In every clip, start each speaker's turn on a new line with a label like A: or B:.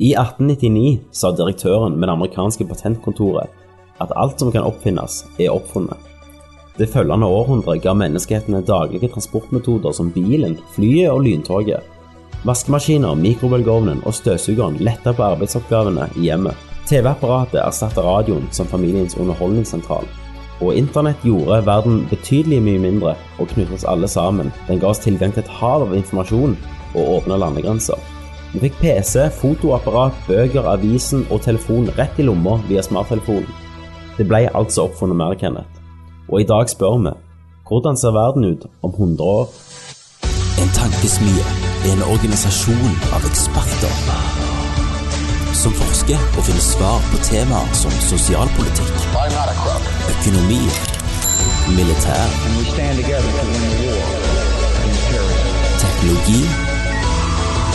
A: I 1899 sa direktøren med det amerikanske patentkontoret at alt som kan oppfinnes, er oppfunnet. Det følgende århundret ga menneskehetene daglige transportmetoder som bilen, flyet og lyntoget. Vaskemaskiner, mikrobølgeovnen og støvsugeren letta på arbeidsoppgavene i hjemmet. TV-apparatet erstatta radioen som familiens underholdningssentral. Og internett gjorde verden betydelig mye mindre og knyttet oss alle sammen. Den ga oss tilgang til et hav av informasjon og åpna landegrenser. Vi fikk PC, fotoapparat, bøker, avisen og telefon rett i lomma via smarttelefonen. Det ble altså oppfunnet mer, Kenneth. Og i dag spør vi hvordan ser verden ut om 100 år?
B: En tankesmie er en organisasjon av eksperter som forsker og finner svar på temaer som sosialpolitikk, økonomi, militær, teknologi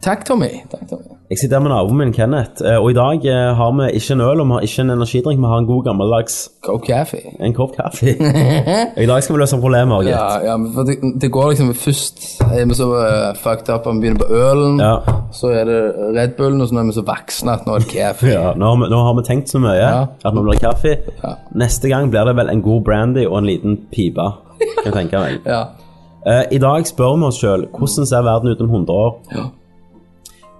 C: Takk, Tommy. Takk, Tommy.
A: Jeg sitter her med naboen min Kenneth, eh, og i dag eh, har vi ikke en øl og vi har ikke en energidrikk, vi har en god gammeldags
C: Coke Cafe.
A: en kopp kaffe. I dag skal vi løse problemer, gitt.
C: Ja, ja, men for det, det går liksom Først er vi så eh, fucked up at vi begynner på ølen.
A: Ja.
C: Så er det Red Bullen, og så nå er vi så voksne at nå er det kaffe.
A: Ja, nå, har vi, nå har vi tenkt så mye
C: Ja.
A: at vi blir kaffe.
C: Ja.
A: Neste gang blir det vel en god brandy og en liten pipe. Kan jeg tenke meg.
C: Ja.
A: Eh, I dag spør vi oss sjøl hvordan ser verden ut om 100 år.
C: Ja.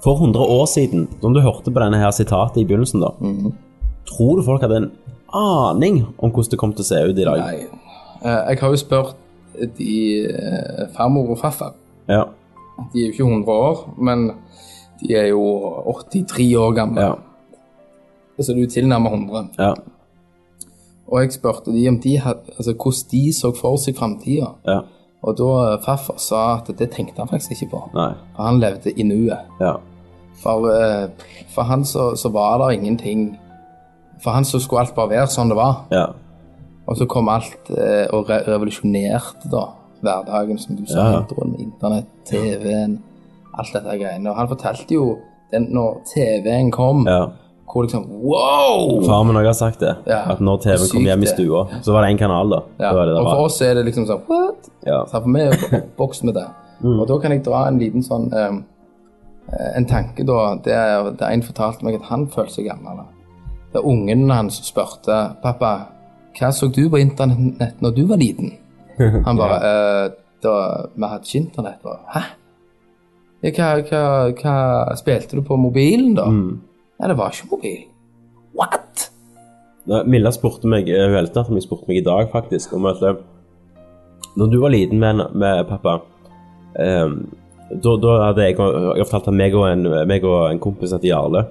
A: For 100 år siden, som du hørte på denne her sitatet i begynnelsen, da,
C: Mhm.
A: tror du folk hadde en aning om hvordan det kom til å se ut i dag?
C: Nei. Eh, Jeg har jo spurt de eh, farmor og farfar.
A: Ja,
C: De er jo ikke 100 år, men de er jo 83 år gamle.
A: ja,
C: Så det er jo tilnærmet 100.
A: ja,
C: Og jeg spurte de om de had, altså, hvordan de så for seg framtida.
A: ja,
C: Og da eh, farfar sa at det tenkte han faktisk ikke på.
A: nei,
C: For han levde i nuet.
A: ja,
C: For, eh, for han så, så var det ingenting For han så skulle alt bare være sånn det var.
A: ja,
C: Og så kom alt eh, og re revolusjonerte da hverdagen, som du sa,
A: Ja, ja.
C: introen med internett, TV-en, alt dette greiene. Og han fortalte jo den når TV-en kom,
A: ja.
C: hvor liksom Wow!
A: Faren min også har sagt det,
C: Ja.
A: at når TV-en kom
C: Sykt
A: hjem i
C: det.
A: stua, så var det én kanal, da.
C: Ja.
A: Det var det det
C: Og for
A: var.
C: oss er det liksom sånn What?
A: Ja.
C: Så for meg er jo oppvokst med det. Og da kan jeg dra en liten sånn eh, En tanke, da. Der, der en fortalte meg at han følte seg gammel. Der ungen hans spurte pappa, hva så du på internett når du var liten? Han bare eh, da, Vi hadde ikke internett. Bare, Hæ? Ja, hva, hva, hva spilte du på mobilen, da?
A: Mm.
C: Nei, det var ikke mobil. What?
A: Nei, Milla spurte meg eh, hun eldste datteren min spurte meg i dag faktisk om at eh, når du var liten med, henne- med pappa eh, da, da hadde jeg, jeg fortalt at meg og en, meg og en kompis etter Jarle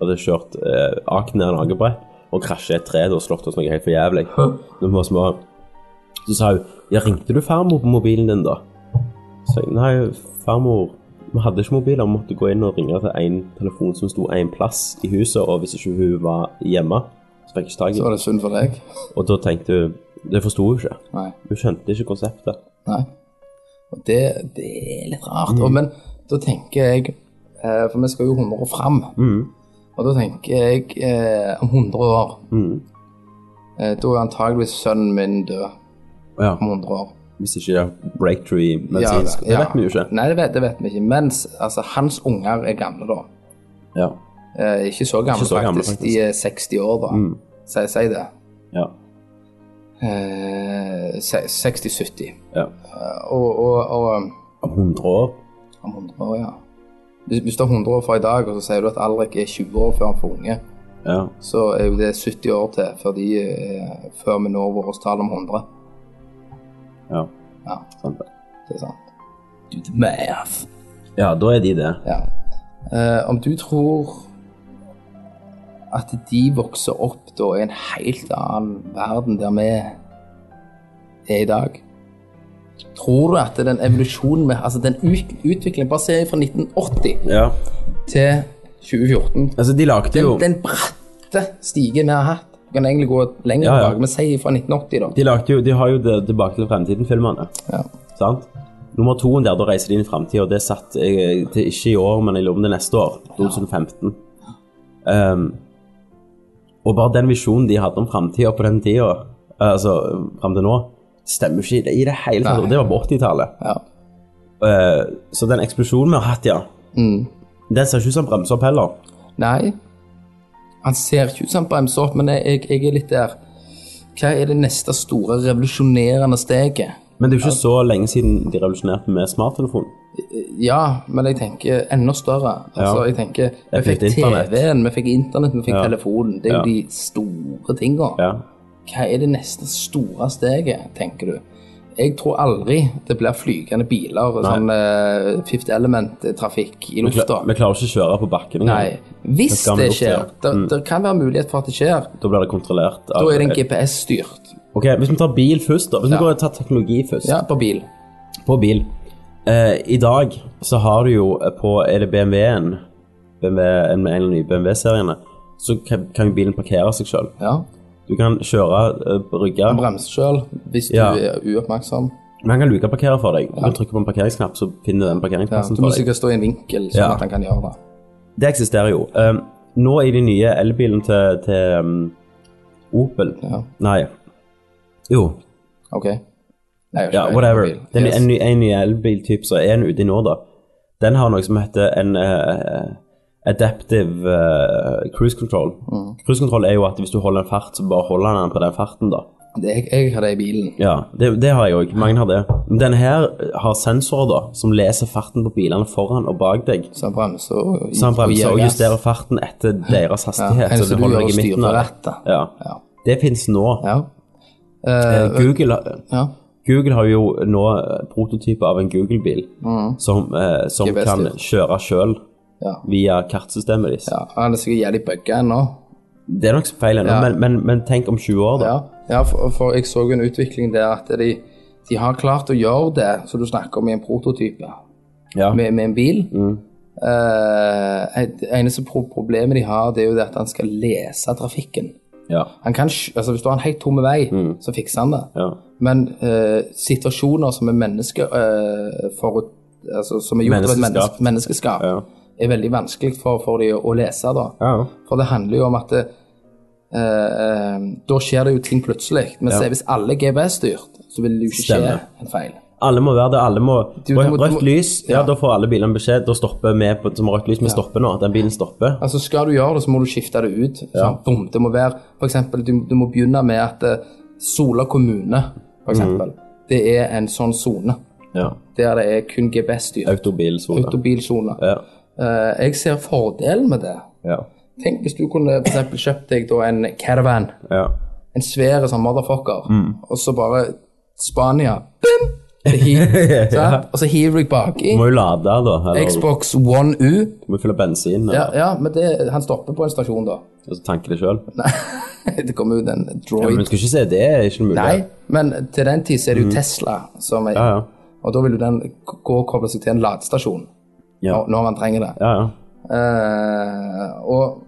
A: hadde kjørt eh, akt ned en hagebrett og krasjet i et tre og slått oss noe helt for jævlig. Når vi var små. Så sa hun ja, ringte du farmor på mobilen din, da? Så jeg nei, farmor vi hadde ikke mobiler, vi måtte gå inn og ringe til en telefon som sto en plass i huset, og hvis ikke hun var hjemme, så fikk jeg ikke tak i
C: Så var det synd for deg.
A: og da tenkte hun Det forsto hun ikke.
C: Nei.
A: Hun skjønte ikke konseptet.
C: Nei. Og det, det er litt rart.
A: Mm.
C: Og, men da tenker jeg eh, For vi skal jo 100 år fram.
A: Mm.
C: Og da tenker jeg eh, om 100 år
A: Mm.
C: eh, Da er antageligvis sønnen min død
A: Ja.
C: om 100 år.
A: Hvis ikke det er breakthrough i medisinsk Det vet vi jo ikke.
C: Nei, det vet, det vet vi ikke. Mens altså, hans unger er gamle da.
A: Ja.
C: Eh, ikke så gamle,
A: Ikke så gamle,
C: faktisk.
A: faktisk. Mm.
C: De er 60 år, da. Si, si det.
A: Ja.
C: Eh, se- 60-70.
A: ja.
C: Og, og, og
A: Om 100 år
C: Om 100 år, ja. Hvis, hvis det er 100 år fra i dag, og så sier du at Alrik er 20 år før han får unge,
A: Ja.
C: så er jo det 70 år til før, de, eh, før vi når vårt tall om 100.
A: ja.
C: Ja,
A: Sant det.
C: det er sant. Do the math.
A: Ja, da er de det.
C: Ja. Eh, om du tror at de vokser opp da i en helt annen verden der vi er i dag Tror du at den evolusjonen vi Altså den ut- utviklingen Bare se fra 1980
A: Ja.
C: til 2014
A: Altså, de lagde jo
C: Den, den bratte stigen vi har hatt Du kan egentlig gå lenger
A: Ja, ja.
C: tilbake, men si fra 1980, da.
A: De lagde jo De har jo det Tilbake til fremtiden-filmene.
C: Ja.
A: Sant? Nummer to der, da reiser de inn i framtida, og det er satt eh, til ikke i år, men jeg lover det neste år. 2015. Um, Ehm, Og bare den visjonen de hadde om framtida på den tida, altså fram til nå, stemmer jo ikke i det, i det hele tatt.
C: Nei.
A: Og det var på 80-tallet.
C: Ja.
A: Eh, så den eksplosjonen vi har hatt, ja,
C: Mm.
A: den ser ikke ut som bremser opp heller.
C: Nei, han ser ikke ut som han bremser opp, men jeg, jeg- jeg er litt der. Hva er det neste store revolusjonerende steget?
A: Men det er jo ikke så lenge siden de revolusjonerte med smarttelefon.
C: Ja, men jeg tenker enda større. Altså,
A: Ja.
C: jeg tenker, Vi
A: Jeg fikk
C: fikk
A: internett.
C: TV-en, vi fikk internett, vi fikk
A: Ja.
C: telefonen. Det er
A: Ja.
C: jo de store tingene.
A: Ja.
C: Hva er det neste store steget, tenker du? Jeg tror aldri det blir flygende biler, sånn eh, Fifth Element-trafikk i
A: Vi,
C: lufta.
A: kla- vi klarer ikke å kjøre på bakken engang.
C: Nei. Hvis
A: skal vi
C: det
A: opp til,
C: skjer, det, det kan være mulighet for at det skjer,
A: Da blir det kontrollert. av-
C: da er det en GPS-styrt.
A: Ok, Hvis vi tar bil først, da. Hvis vi
C: Ja.
A: går og tar teknologi først.
C: Ja, på bil.
A: På bil. Eh, I dag så har du jo eh, på Er det BMW-en? BMW, en med en av de nye BMW-seriene. Så kan, kan jo bilen parkere seg sjøl.
C: Ja.
A: Du kan kjøre eh, på rygga.
C: Bremse sjøl hvis du
A: Ja.
C: er uoppmerksom.
A: Men han kan lukeparkere for deg. Du trykker på en parkeringsknapp, så finner den
C: Ja,
A: parkeringsplassen
C: du må
A: for deg.
C: sikkert stå i en vinkel, sånn
A: Ja.
C: at han kan gjøre det.
A: Det eksisterer jo. Um, nå i de nye elbilene til, til um, Opel
C: Ja.
A: Nei. Jo.
C: OK? Nei, jeg
A: Ja,
C: skjønner.
A: whatever.
C: På bil.
A: Det er
C: Yes.
A: en, ny- en ny elbiltype som er en ute i nå, da. Den har noe som heter en eh, adaptive eh, cruise control.
C: Mm.
A: Cruise control er jo at hvis du holder en fart, så bare holder den på den farten, da.
C: Det- Jeg, jeg har det i bilen.
A: Ja, det, det har jeg òg. Mange har det. Men denne her har sensorer, da, som leser farten på bilene foran og bak deg.
C: Så han bremser og,
A: Så han bremser og
C: gass.
A: justerer farten etter deres
C: Ja,
A: hastighet.
C: eneste
A: så
C: du
A: du holder
C: gjør
A: deg i
C: å
A: midten
C: styre
A: av det.
C: rattet.
A: Ja.
C: Ja.
A: Det fins nå.
C: Ja.
A: Eh, Google,
C: ja.
A: Google har jo nå eh, prototyper av en Google-bil
C: Mm.
A: som, eh, som
C: GPS
A: kan
C: styrt.
A: kjøre sjøl
C: Ja.
A: via kartsystemet deres.
C: ja. Han er sikkert jævlig bugga ennå.
A: Det er nok så feil ennå,
C: Ja.
A: men, men, men tenk om 20 år, da.
C: Ja, ja for, for jeg så jo en utvikling der at de, de har klart å gjøre det som du snakker om i en prototype,
A: Ja. Mm.
C: med, med en bil. Eh, det eneste pro problemet de har, det er jo det at han skal lese trafikken.
A: Ja.
C: Han kan, sk- altså Hvis du har en helt tom vei, så fikser han det.
A: Mm. Ja.
C: Men eh, situasjoner som er menneske eh, forut, altså, som er gjort av et
A: Menneskeskapt.
C: menneske, menneskeskap,
A: Ja.
C: er veldig vanskelig for, for dem å, å lese. da.
A: Ja.
C: For det handler jo om at det, eh, eh, da skjer det jo ting plutselig. Men se, hvis alle er GPS-styrt, så vil det jo ikke skje
A: Stemmer.
C: en feil.
A: Alle må være det. alle må...
C: Du- du må-
A: Rødt,
C: du må-
A: rødt lys, ja,
C: Ja.
A: da får alle bilene beskjed. Da stopper vi på, som har rødt lys. Vi stopper nå. Den bilen stopper.
C: Altså Skal du gjøre det, så må du skifte det ut. Sånn, bom, det må være, for eksempel, du, du må begynne med at eh, Sola kommune,
A: Mhm.
C: for eksempel, det er en sånn sone.
A: Ja.
C: Der det er kun GPS-styrt.
A: Autobilsone.
C: Autobilsone.
A: Ja.
C: Eh, jeg ser fordelen med det.
A: Ja.
C: Tenk hvis du kunne for eksempel kjøpt deg da en caravan,
A: ja.
C: en svær sånn motherfucker,
A: Mm.
C: og så bare Spania bim, det hiv, sant? Og så hiver du deg baki.
A: Du må jo lade, da. Eller
C: Xbox One U.
A: du må fylle bensin.
C: Ja,
A: Eller,
C: ja men det, han stopper på en stasjon, da.
A: Og så tanke det sjøl.
C: Nei, det kommer ut en
A: Men
C: droid.
A: du skal ikke se det er ikke en mulighet.
C: Nei, men til den tid så er det jo Tesla som er
A: Ja, ja.
C: Og da vil jo den k- gå og koble seg til en ladestasjon
A: Ja.
C: når, når man trenger det.
A: ja, ja.
C: Eh, og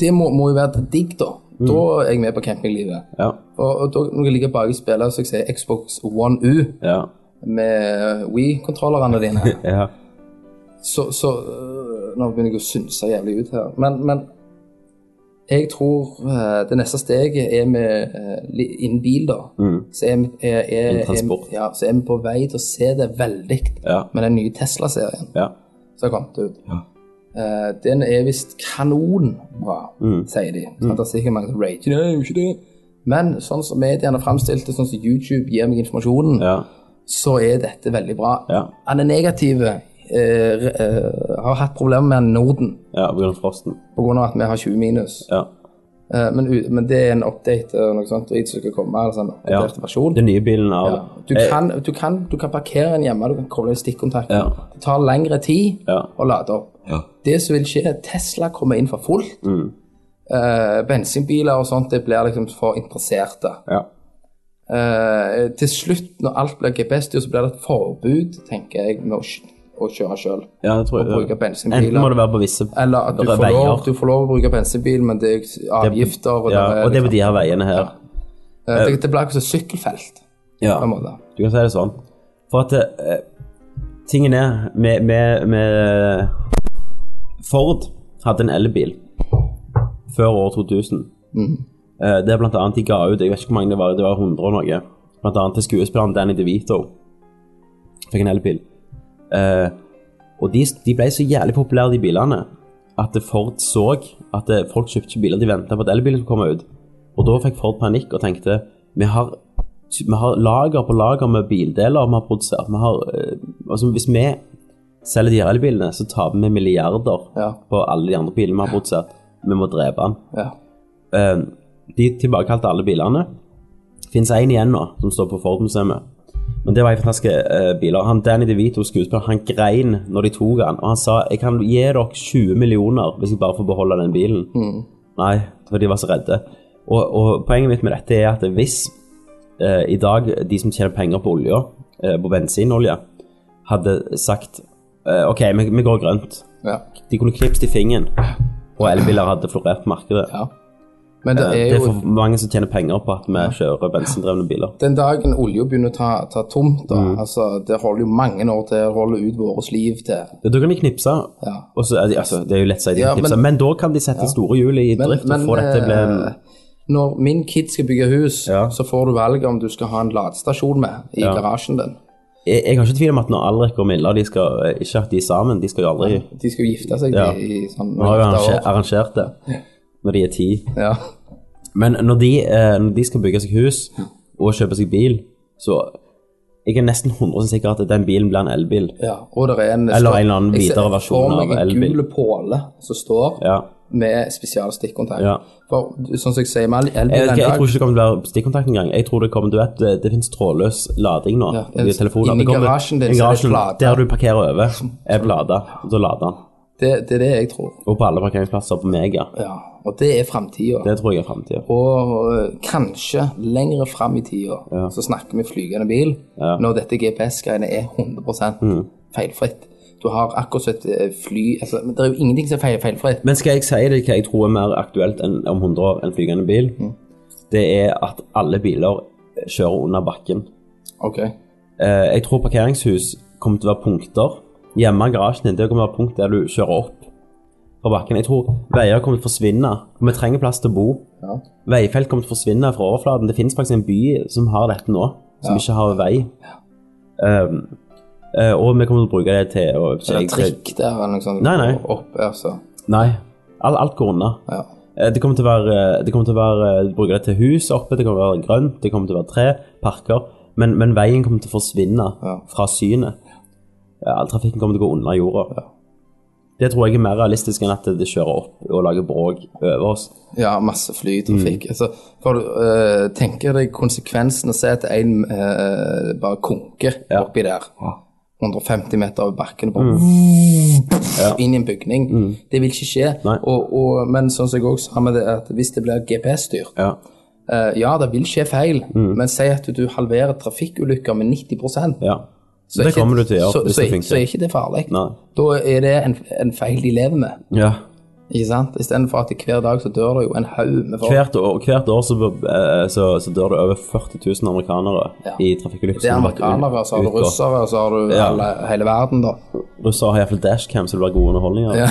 C: det må, må jo være digg, da.
A: Mm.
C: Da er jeg med på campinglivet.
A: ja.
C: Og, og da, når jeg ligger bak i spillet, så jeg ser Xbox One U
A: ja.
C: med We-kontrollerne dine,
A: ja.
C: så, så øh, Nå begynner jeg å synse jævlig ut her. Men, men jeg tror eh, det neste steget er med eh, li- innen bil, da. Så er vi- er- er-
A: Innen
C: er-
A: Mm. transport.
C: ja, så er vi på vei til å se det veldig
A: Ja.
C: med den nye Tesla-serien.
A: ja.
C: som har kommet ut. Eh, den er visst kanonbra,
A: Mm.
C: sier de. Så Det er sikkert mange som rager det, er jo ikke det. Men sånn som mediene framstilte, sånn som YouTube gir meg informasjonen,
A: ja.
C: så er dette veldig bra.
A: Ja.
C: Han er negativ. Eh, re- eh, har hatt problemer med han i Norden
A: ja. På grunn av frosten.
C: pga. at vi har 20 minus.
A: Ja.
C: Eh, men, u- men det er en update og noe sånt drit som skal komme. Altså en
A: Ja.
C: oppdatert versjon.
A: Den nye bilen av
C: Ja. Du, kan, du, kan, du kan parkere den hjemme, du kan koble inn stikkontakten.
A: Eh. Ja.
C: Det tar lengre tid
A: Ja.
C: å lade opp.
A: Ja.
C: Det som vil skje, er at Tesla kommer inn for fullt.
A: Mm.
C: Eh, bensinbiler og sånt, det blir liksom for interesserte.
A: ja.
C: Eh, til slutt, når alt blir GPS-styrt, så blir det et forbud, tenker jeg, med å, kj- å kjøre sjøl.
A: ja, det tror
C: Å
A: jeg.
C: bruke bensinbiler.
A: Enten må det være på visse
C: Eller at du får,
A: veier.
C: lov, du får lov å bruke bensinbil, men det er avgifter og,
A: ja,
C: det, er
A: og det er
C: liksom-
A: på de her veiene her.
C: Eh, det, det blir akkurat som sykkelfelt.
A: Ja.
C: på en måte.
A: Du kan si det sånn. For at eh, tingen er eh, med, med, med Ford hadde en elbil. før år 2000. Eh, Det er blant annet de ga ut, jeg vet ikke hvor mange det var, det var 100 og noe. Blant annet til skuespilleren Danny DeVito. Fikk en elbil. Eh, og de, de ble så jævlig populære, de bilene, at Ford så at eh, folk kjøpte ikke biler, de ventet på at elbilen skulle komme ut. Og da fikk Ford panikk og tenkte, vi har, vi har lager på lager med bildeler vi har produsert. Vi har, eh, altså hvis vi selger de her elbilene, så taper vi milliarder
C: Ja.
A: på alle de andre bilene vi har produsert. Vi må drepe den.
C: Ja.
A: Eh, De tilbakekalte alle bilene. Fins én igjen nå, som står på Ford-museet. Men det var en fantastiske eh, biler. Han Danny DeVito, skuespiller, han grein når de tok han, og han sa 'Jeg kan gi dere 20 millioner hvis jeg bare får beholde den bilen'. Nei, for de var så redde. Og, og poenget mitt med dette er at hvis eh, i dag de som tjener penger på olja, eh, på bensinolje, hadde sagt eh, 'OK, vi, vi går grønt',
C: ja.
A: de kunne knipst i fingeren, og elbiler hadde florert på markedet.
C: ja. Men det
A: Det
C: er
A: er
C: jo
A: for mange som tjener penger på at vi kjører bensindrevne biler.
C: den dagen olja begynner å ta, ta tomt, da,
A: Mm.
C: altså, det holder jo mange år til, det holder ut vårt liv til.
A: Da kan de knipse.
C: Ja.
A: Og så, er de- altså, det er jo lett å si de
C: Ja,
A: knipser, men,
C: men-
A: da kan de sette store hjul i drift og få dette til å bli en
C: eh, Når min kid skal bygge hus,
A: Ja.
C: så får du valget om du skal ha en ladestasjon med i garasjen din.
A: jeg, jeg har ikke tvil om at når Alrik og Milla de skal, eh, ikke at de er sammen, de skal jo aldri
C: De skal jo gifte seg
A: Ja.
C: i, i sånn
A: Nå har jo
C: åtte
A: arranger,
C: år.
A: arrangert det når de er ti.
C: Ja.
A: Men når de, eh, når de skal bygge seg hus og kjøpe seg bil, så jeg er nesten 100 sikker at den bilen blir en elbil.
C: Ja. Og der er en,
A: Eller en eller annen
C: Jeg ser-
A: videre versjon
C: får meg
A: av
C: en
A: elbil.
C: gul påle som står
A: Ja.
C: med spesial stikkontakt.
A: Ja.
C: For sånn som jeg sier med el-
A: Jeg,
C: elbil
A: vet
C: en
A: ikke, jeg tror
C: dag
A: ikke det kommer til å være stikkontakt engang. Jeg tror det kommer, du vet, det, eh, det finnes trådløs lading nå.
C: Ja,
A: i telefoner.
C: inni
A: Det kommer-
C: garasjen din
A: i
C: så er det
A: garasjen,
C: plate.
A: Der du parkerer over, er plata. Så lader den.
C: det, det er det jeg tror.
A: Og på alle parkeringsplasser på Mega.
C: Ja. Og det er framtida.
A: Det tror jeg er framtida.
C: Og øh, kanskje lengre fram i tida så snakker vi flygende bil når dette GPS-greiene er 100
A: Mm.
C: feilfritt. Du har akkurat som et øh, fly altså, men Det er jo ingenting som er feil, feilfritt.
A: Men skal jeg si deg hva jeg tror er mer aktuelt enn om 100 år enn flygende bil?
C: Mm.
A: Det er at alle biler eh, kjører under bakken.
C: Ok.
A: Eh, jeg tror parkeringshus kommer til å være punkter. Hjemme i garasjen din, det kommer til å være punkt der du kjører opp fra bakken. Jeg tror veier kommer til å forsvinne. Vi trenger plass til å bo.
C: Ja.
A: Veifelt kommer til å forsvinne fra overflaten. Det finnes faktisk en by som har dette nå, som ikke har vei. Um, eh, og vi kommer til å bruke det til å
C: Eller trikk der eller noe sånt.
A: Nei, nei.
C: Opp, altså.
A: Nei. Alt, alt går unna.
C: Ja.
A: Eh, Det kommer til å være, det kommer til å være eh, bruke det til hus oppe, det kommer til å være grønt, det kommer til å være tre, parker. Men, men veien kommer til å forsvinne
C: Ja.
A: fra synet. Eh, All trafikken kommer til å gå under jorda. Det tror jeg er mer realistisk enn at det kjører opp og lager bråk over oss.
C: Ja, masse flytrafikk. Altså, for du øh, tenker deg konsekvensen å se at en øh, bare konker oppi der. 150 meter over bakken og bare inn i en bygning. Det vil ikke skje.
A: Nei.
C: Og, og, men sånn som jeg også sa med det, at hvis det blir GPS-styrt
A: Ja.
C: eh, Ja, det vil skje feil, men si at du halverer trafikkulykker med 90
A: ja.
C: så er
A: det
C: ikke-
A: kommer du til å gjøre
C: så,
A: hvis
C: så,
A: det
C: så er
A: funker.
C: ikke det farlig.
A: Nei.
C: Da er det en, en feil de lever med.
A: Ja.
C: Ikke sant? Istedenfor at hver dag så dør det jo en haug med folk.
A: Hvert år, hvert år så, eh, så, så dør det over 40 000 amerikanere
C: Ja.
A: i trafikkulykker.
C: Det er
A: som har vært ut-
C: amerikanere, så har du
A: utgått.
C: russere, så har du
A: Ja.
C: alle, hele verden, da.
A: Russere har iallfall dashcam, så det blir god underholdning. av det.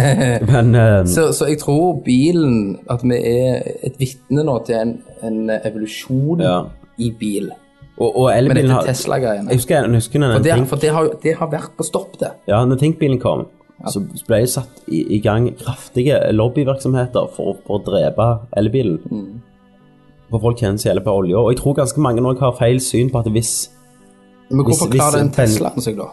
A: Men eh,
C: Så, så jeg tror bilen At vi er et vitne nå til en, en evolusjon
A: Ja.
C: i bil.
A: Og, og
C: Med
A: elbilen
C: dette
A: har
C: Tesla-greiene.
A: Jeg husker, jeg husker når,
C: Og det,
A: den
C: for det har, jo- det har vært på stopp, det.
A: ja, når Think-bilen kom, så ble det satt i, i gang kraftige lobbyvirksomheter for, å- for å drepe elbilen.
C: Mm.
A: For folk tjener seg hele på olja. Og jeg tror ganske mange nå har feil syn på at hvis
C: Men
A: Hvis-
C: hvorfor
A: hvis
C: klarer den
A: en pen-
C: Teslaen seg, da?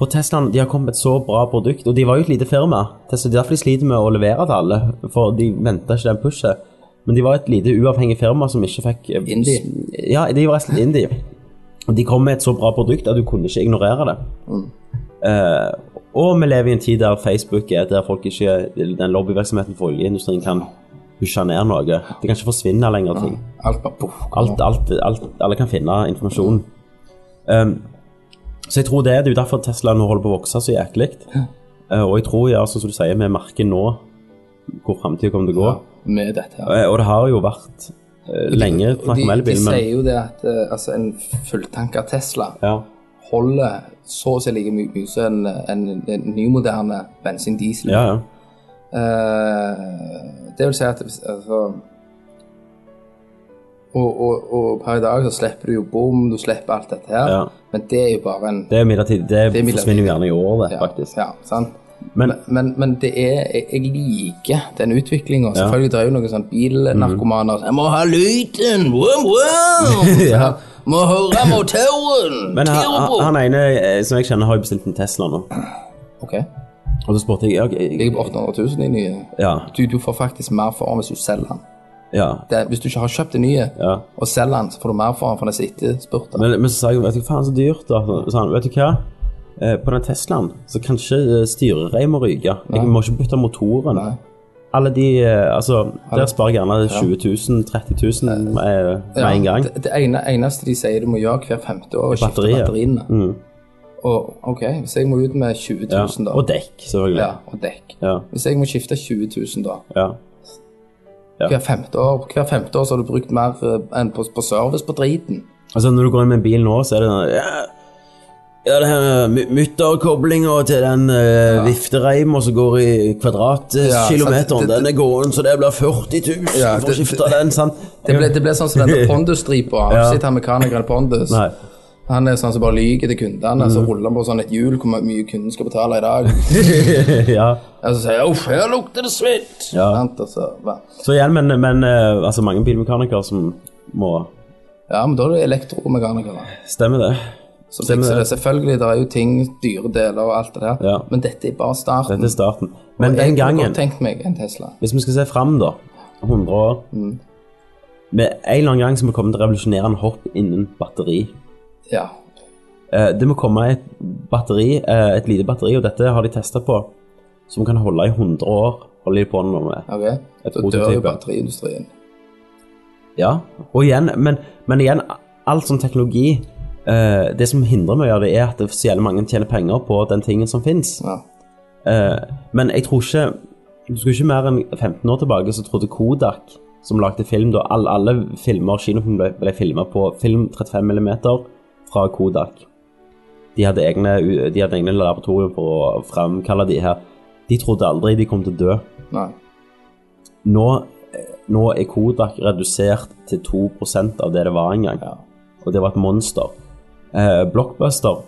A: For Teslaen de har kommet med et så bra produkt, og de var jo et lite firma. Tesla, det er derfor de sliter med å levere til alle, for de venta ikke den pushet. Men de var et lite uavhengig firma som ikke fikk eh,
C: Indie.
A: s- Ja, de var rett og slett indie. Og de kom med et så bra produkt at du kunne ikke ignorere det. Eh, og vi lever i en tid der Facebook er der folk ikke Den lobbyvirksomheten for oljeindustrien kan pushe ned noe. Det kan ikke forsvinne lenger ting.
C: Alt bare poff.
A: Alt, alt, alt, alle kan finne informasjon. Um, så jeg tror det, det er jo derfor Tesla nå holder på å vokse så jæklig. Uh, og jeg tror, ja, sånn som du sier, vi merker nå hvor framtida kommer til å gå.
C: Med dette
A: Uh,
C: her.
A: og det har jo vært uh, lenge snakk
C: De,
A: om
C: de
A: elbil, men
C: sier jo det at eh, altså, en fulltanka Tesla
A: ja,
C: holder så å si like mye mye som en, en, en nymoderne bensin-diesel.
A: ja, ja.
C: Eh, det vil si at hvis- altså, og, og, og per i dag så slipper du jo bom, du slipper alt dette her.
A: Ja.
C: Men det er jo bare en
A: Det er midlertidig. Det,
C: Det er midlertidig.
A: forsvinner jo gjerne i år, det,
C: ja,
A: faktisk.
C: Ja, sant?
A: Men
C: Men, men det er, jeg, jeg liker den utviklinga. Selvfølgelig det er jo noen sånn bilnarkomaner som 'Jeg må ha lyden! Wow, wow!
A: Ja.
C: Må høre motoren!
A: Men han,
C: Turbo!»
A: han- han ene eh, som jeg kjenner, har jo bestilt en Tesla nå.
C: Ok.
A: Og så spurte jeg ja,
C: Ligger på 800 000 i nye.
A: ja,
C: Du, du får faktisk mer for den hvis du selger den.
A: ja,
C: Det, hvis du ikke har kjøpt den nye
A: ja.
C: og selger den, så får du mer for den for den som etterspurte.
A: Men, men så sa jeg vet du, faen så dyrt. da. Så sa han vet du hva, Eh, på den Teslaen så kanskje eh, styrereimen må ryke. Jeg må ikke bytte motoren.
C: Nei.
A: Alle de eh, Altså, der sparer jeg gjerne 20 000, 30 000 eh, med en gang.
C: Det, det ene, eneste de sier du må gjøre hver femte år, er å skifte
A: Batteriet. Mm.
C: batteriene. Og ok, hvis jeg må ut med 20 000
A: Ja.
C: da,
A: Og dekk, selvfølgelig.
C: ja, og dekk
A: Ja.
C: Hvis jeg må skifte 20 000 da,
A: ja. Ja.
C: hver femte år, hver femte år så har du brukt mer eh, enn på, på service på driten.
A: Altså, når du går inn med en bil nå, så er det sånn ja, ja, det her mu- mutterkoblinga til den uh, viftereimen som går i
C: sant,
A: kvadratkilometeren,
C: det- det-
A: den er gåen, så det blir 40 000
C: Ja,
A: for å
C: det-
A: skifte den, sant?
C: Det ble, det ble sånn som denne Pondus-stripa. Ja. Sitter her mekanikeren Pondus.
A: Nei. Mm.
C: Han er sånn som bare lyger til kundene, så ruller han på sånn et hjul hvor mye kunden skal betale i dag.
A: ja.
C: Og så sier jeg 'uff, her lukter det svidd'.
A: Ja.
C: Sant, og så, hva?
A: Så igjen, men, men eh, altså, mange bilmekanikere som må
C: ja, men da er du elektromekaniker. da.
A: Stemmer det.
C: Så
A: Stemmer
C: fikser
A: det.
C: det. Selvfølgelig, det er jo ting, dyre deler og alt det der,
A: Ja.
C: men dette er bare starten.
A: Dette er starten. Men
C: jeg
A: den
C: kunne
A: gangen
C: godt tenkt meg en Tesla.
A: Hvis vi skal se fram, da, 100 år
C: Mm.
A: Med en eller annen gang så må vi komme til revolusjonerende hopp innen batteri.
C: Ja.
A: Eh, det må komme et batteri, eh, et lite batteri, og dette har de testa på, som kan holde i 100 år. Holder de på nå med.
C: ok?
A: Et
C: Da dør
A: prototype.
C: jo batteriindustrien.
A: Ja. Og igjen, men, men igjen, alt sånn teknologi eh, Det som hindrer mye av det, er at det er så jævlig mange tjener penger på den tingen som fins.
C: Ja.
A: Eh, men jeg tror ikke Du skulle ikke mer enn 15 år tilbake, så trodde Kodak, som lagde film da Alle, alle filmer kinofilm ble, ble filma på film 35 mm fra Kodak. De hadde egne, u- de hadde egne laboratorium for å fremkalle de her. De trodde aldri de kom til å dø.
C: Nei.
A: Nå, eh, nå er Kodak redusert til 2 av det det var en gang.
C: Ja.
A: Og det var et monster. Eh, Blockbuster,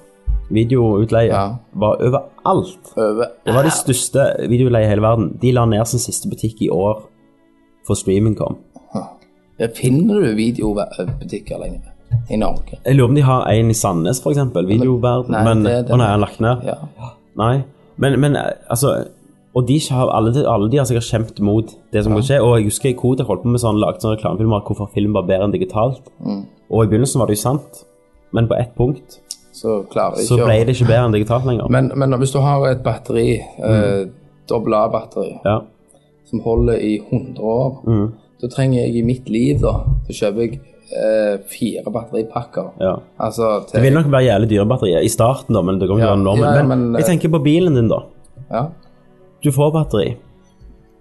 A: videoutleie,
C: Ja.
A: var overalt.
C: Over.
A: Det var de største videoleiene i hele verden. De la ned sin siste butikk i år før streaming kom.
C: Ja, Finner du videobutikker lenger i Norge?
A: Jeg lurer om de har en i Sandnes, for eksempel. Videoverden.
C: Nei,
A: Men,
C: det- det-
A: å nei, han lagt ned?
C: Ja.
A: Nei. Men, men eh, altså Og de har, alle, de, alle de har sikkert kjempet mot det som kan skje. Og jeg husker Kodak holdt på med sånn, lagde sånne reklamefilmer om hvorfor film var bedre enn digitalt.
C: Mm.
A: Og i begynnelsen var det jo sant, men på ett punkt
C: Så klarer jeg
A: så
C: ikke
A: ble
C: å
A: det ikke bedre enn digitalt lenger.
C: men, men hvis du har et batteri, eh, dobbel A-batteri,
A: Ja. Mm.
C: som holder i 100 år, da trenger jeg i mitt liv, da, så kjøper jeg eh, fire batteripakker.
A: ja.
C: Altså
A: Det
C: til
A: vil nok være jævlig dyre batterier i starten, da, men det kommer til å
C: Ja.
A: være normen.
C: Ja, ja,
A: men
C: men,
A: jeg
C: eh,
A: tenker på bilen din, da.
C: Ja.
A: Du får batteri.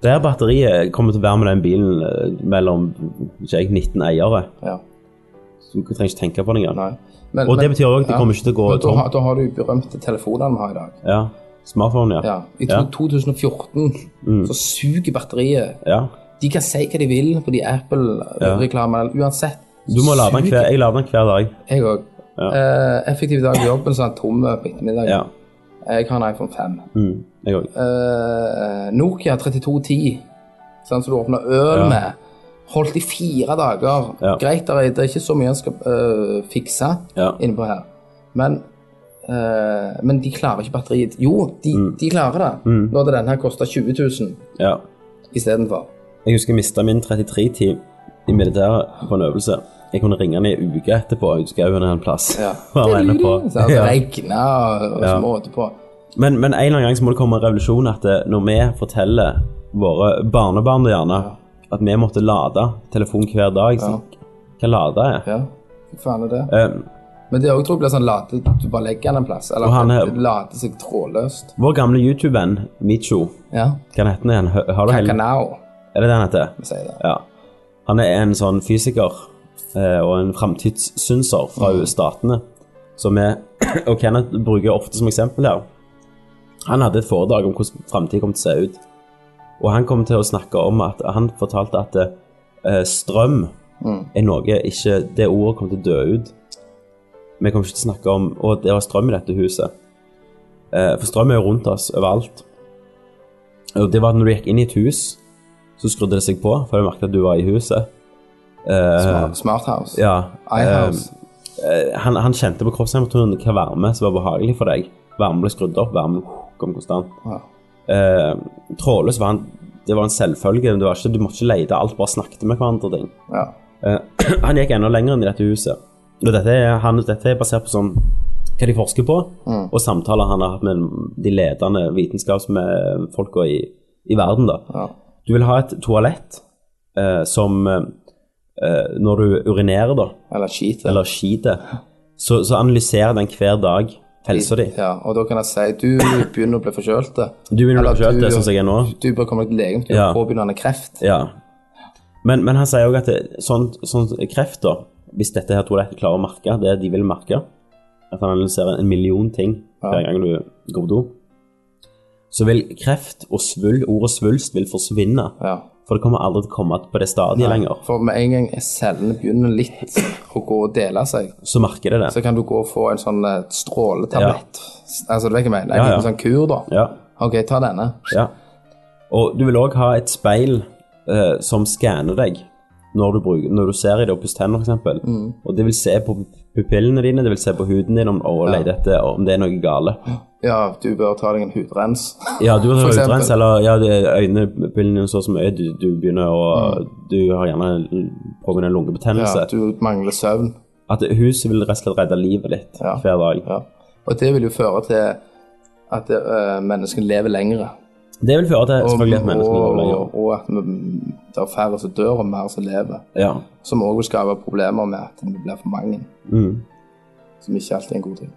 A: Der batteriet kommer til å være med den bilen eh, mellom ikke jeg, 19 eiere.
C: ja.
A: Så du trenger ikke tenke på det engang.
C: Nei. Men-
A: Og det
C: men-
A: betyr også at de kommer ikke til å gå
C: Men Da,
A: tom.
C: har- da har du berømte telefonene vi har i dag.
A: Ja. Smartphone, ja. Mm.
C: Ja. I to- 2014 så suger batteriet.
A: Ja.
C: De kan si hva de vil på de Apple-reklamene, eller uansett.
A: Du må lade den
C: Suger.
A: hver, jeg lader den hver dag.
C: Jeg òg. Eh, effektiv dag i jobben, så er den tom på ettermiddagen.
A: Ja.
C: Jeg har en iPhone 5.
A: Mm. Jeg òg.
C: Eh, Nokia 3210, sånn som du åpner øl
A: Ja.
C: med. Holdt i fire dager.
A: Ja.
C: Greit, det er- det er ikke så mye en skal eh, fikse
A: Ja.
C: innpå her. Men, eh, men de klarer ikke batteriet. Jo, de,
A: Mm.
C: de klarer det. Når det denne her koster 20 000
A: Ja.
C: istedenfor.
A: Jeg husker jeg mista min 33-tid i militæret på en øvelse. Jeg kunne ringe den i en uke etterpå. Jeg husker jeg var en plass.
C: Ja.
A: Hva var jeg inne på?
C: Så det
A: Ja.
C: regner og, og
A: Ja.
C: så måte på.
A: Men, men en eller annen gang så må det komme en revolusjon at det, når vi forteller våre barnebarn gjerne at vi måtte lade telefon hver dag så, Hva lade er?
C: Ja, fy faen er det.
A: Eh,
C: Men det òg tror jeg blir sånn late Du bare legger den en plass. Eller
A: Og han
C: at
A: er-
C: det later seg trådløst.
A: vår gamle YouTube-venn Micho
C: Ja.
A: Hva heter han igjen? Hø- Har du hele
C: Kakanao,
A: Er det det han heter?
C: vi sier det.
A: Ja. Han er en sånn fysiker eh, og en framtidssynser fra statene, som er Og Kenneth bruker ofte som eksempel her. Han hadde et foredrag om hvordan framtiden kom til å se ut. Og han kom til å snakke om at han fortalte at eh, strøm er noe ikke Det ordet kommer til å dø ut. Vi kommer ikke til å snakke om Å, det var strøm i dette huset. Eh, for strøm er jo rundt oss overalt. Og det var at når du gikk inn i et hus, så skrudde det seg på, for du merket at du var i huset.
C: Smart, smart house.
A: Eh, Ja.
C: I house.
A: eh, han, han kjente på kroppstemperaturen hva varme som var behagelig for deg. Varmen ble skrudd opp, varmen kom konstant.
C: Ja.
A: Eh, trådløs var han Det var en selvfølge. men Det var ikke, du måtte ikke lete, alt bare snakket med hverandre. og ting.
C: ja.
A: Eh, han gikk enda lenger inn i dette huset. Og dette er, han, dette er basert på sånn hva de forsker på, og samtaler han har hatt med de ledende vitenskapsfolka i, i verden. da.
C: Ja.
A: Du vil ha et toalett eh, som eh, eh, Når du urinerer, da,
C: Eller skit.
A: eller skiter, så, så analyserer den hver dag helsa di.
C: Ja, og da kan jeg si du begynner å bli forkjølt.
A: Du begynner å
C: Eller
A: bli forkjølt,
C: du-
A: det, sånn som jeg er nå.
C: Du bør komme deg til legen for du
A: Ja.
C: har påbegynnende kreft.
A: Ja. Men, men han sier òg at det, sånn, sånn kreft, da Hvis dette her toalettet klarer å merke det de vil merke At han analyserer en million ting hver gang du går på do Så vil kreft og svulst, ordet svulst, vil forsvinne.
C: Ja.
A: For det kommer aldri til å komme på det stadiet lenger.
C: For med en gang cellene begynner litt å gå og dele seg,
A: Så merker det det.
C: så kan du gå og få en sånn eh, stråletablett. Altså, du vet hva jeg mener? En
A: Ja, ja.
C: liten sånn kur, da.
A: Ja,
C: Ok, ta denne.
A: ja. Og du vil òg ha et speil eh, som skanner deg når du, bruker, når du ser i det og pusser tenner, f.eks.
C: Mm.
A: Og det vil se på pupillene dine, det vil se på huden din om, og lete etter om det er noe gale.
C: Ja, du bør ta deg en hudrens.
A: Ja, du har
C: For eksempel.
A: utrens, eller ja, det- øynepillene dine så så mye, du, du begynner å Du har gjerne pågående lungebetennelse.
C: Mm. Ja, du mangler søvn.
A: At huset vil rett og slett redde livet ditt
C: Ja.
A: hver dag.
C: Ja. Og det vil jo føre til at eh, menneskene lever lengre.
A: Det vil føre til
C: Og,
A: selvfølgelig at menneskene lever lenger.
C: og, og at vi, det er færre som dør, og mer som lever.
A: Ja.
C: Som òg vil skape problemer med at det blir for mange.
A: Mm.
C: Som ikke alltid er en god ting.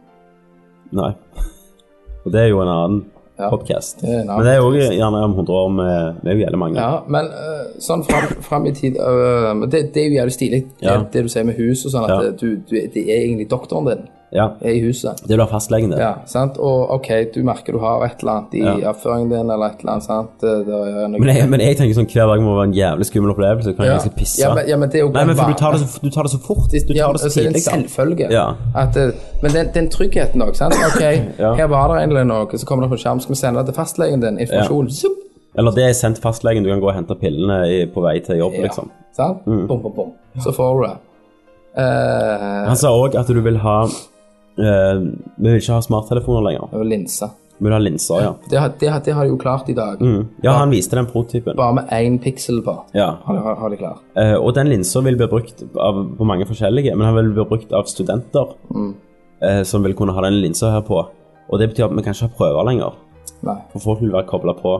A: Nei. Og det er jo en annen
C: Ja.
A: podcast.
C: Det er en annen
A: Men det er jo også gjerne om 100 år med, med jævlig mange.
C: Ja, men eh, sånn fram, fram i tid eh, men det, det er jo jævlig stilig, det,
A: Ja.
C: det du sier med hus og sånn, at
A: Ja.
C: eh, du, du, det er egentlig doktoren din
A: Ja.
C: er i huset.
A: Det blir fastlegen, det.
C: Ja, sant? Og OK, du merker du har et eller annet i avføringen din, eller et eller annet, sant? Det, det er noe...
A: Men jeg, men jeg tenker sånn hver dag må være en jævlig skummel opplevelse. Hver gang
C: Ja.
A: jeg skal pisse.
C: Ja, men- ja, men det er jo
A: Nei, men for
C: bare-
A: du tar det så, du tar det så fort. Du
C: ja,
A: tar det så
C: altså, det er en
A: tidlig. liksom. da.
C: selvfølge.
A: Ja.
C: At, eh, men den, den tryggheten òg, sant? OK, her var det egentlig noe, så kommer det på skjerm, skal vi sende det til fastlegen din, informasjon. Zup!
A: Eller det er sendt fastlegen, du kan gå og hente pillene i, på vei til jobb, liksom.
C: Sant? Bom, bom, bom. Så får du det. Eh,
A: Han sa òg at du vil ha eh, Vi vil ikke ha smarttelefoner lenger.
C: og linse.
A: Vi vil ha linser, ja.
C: Det, har- det, har- det har de jo klart i dag.
A: Ja, han viste den prototypen.
C: Bare med én piksel på.
A: Mm. Ja.
C: Har de, har, har de klart.
A: Eh, og den linsa vil bli brukt av, på mange forskjellige, men han vil bli brukt av studenter eh, som vil kunne ha den linsa her på. Og det betyr at vi kan ikke ha prøver lenger.
C: Nei.
A: For folk vil være kobla på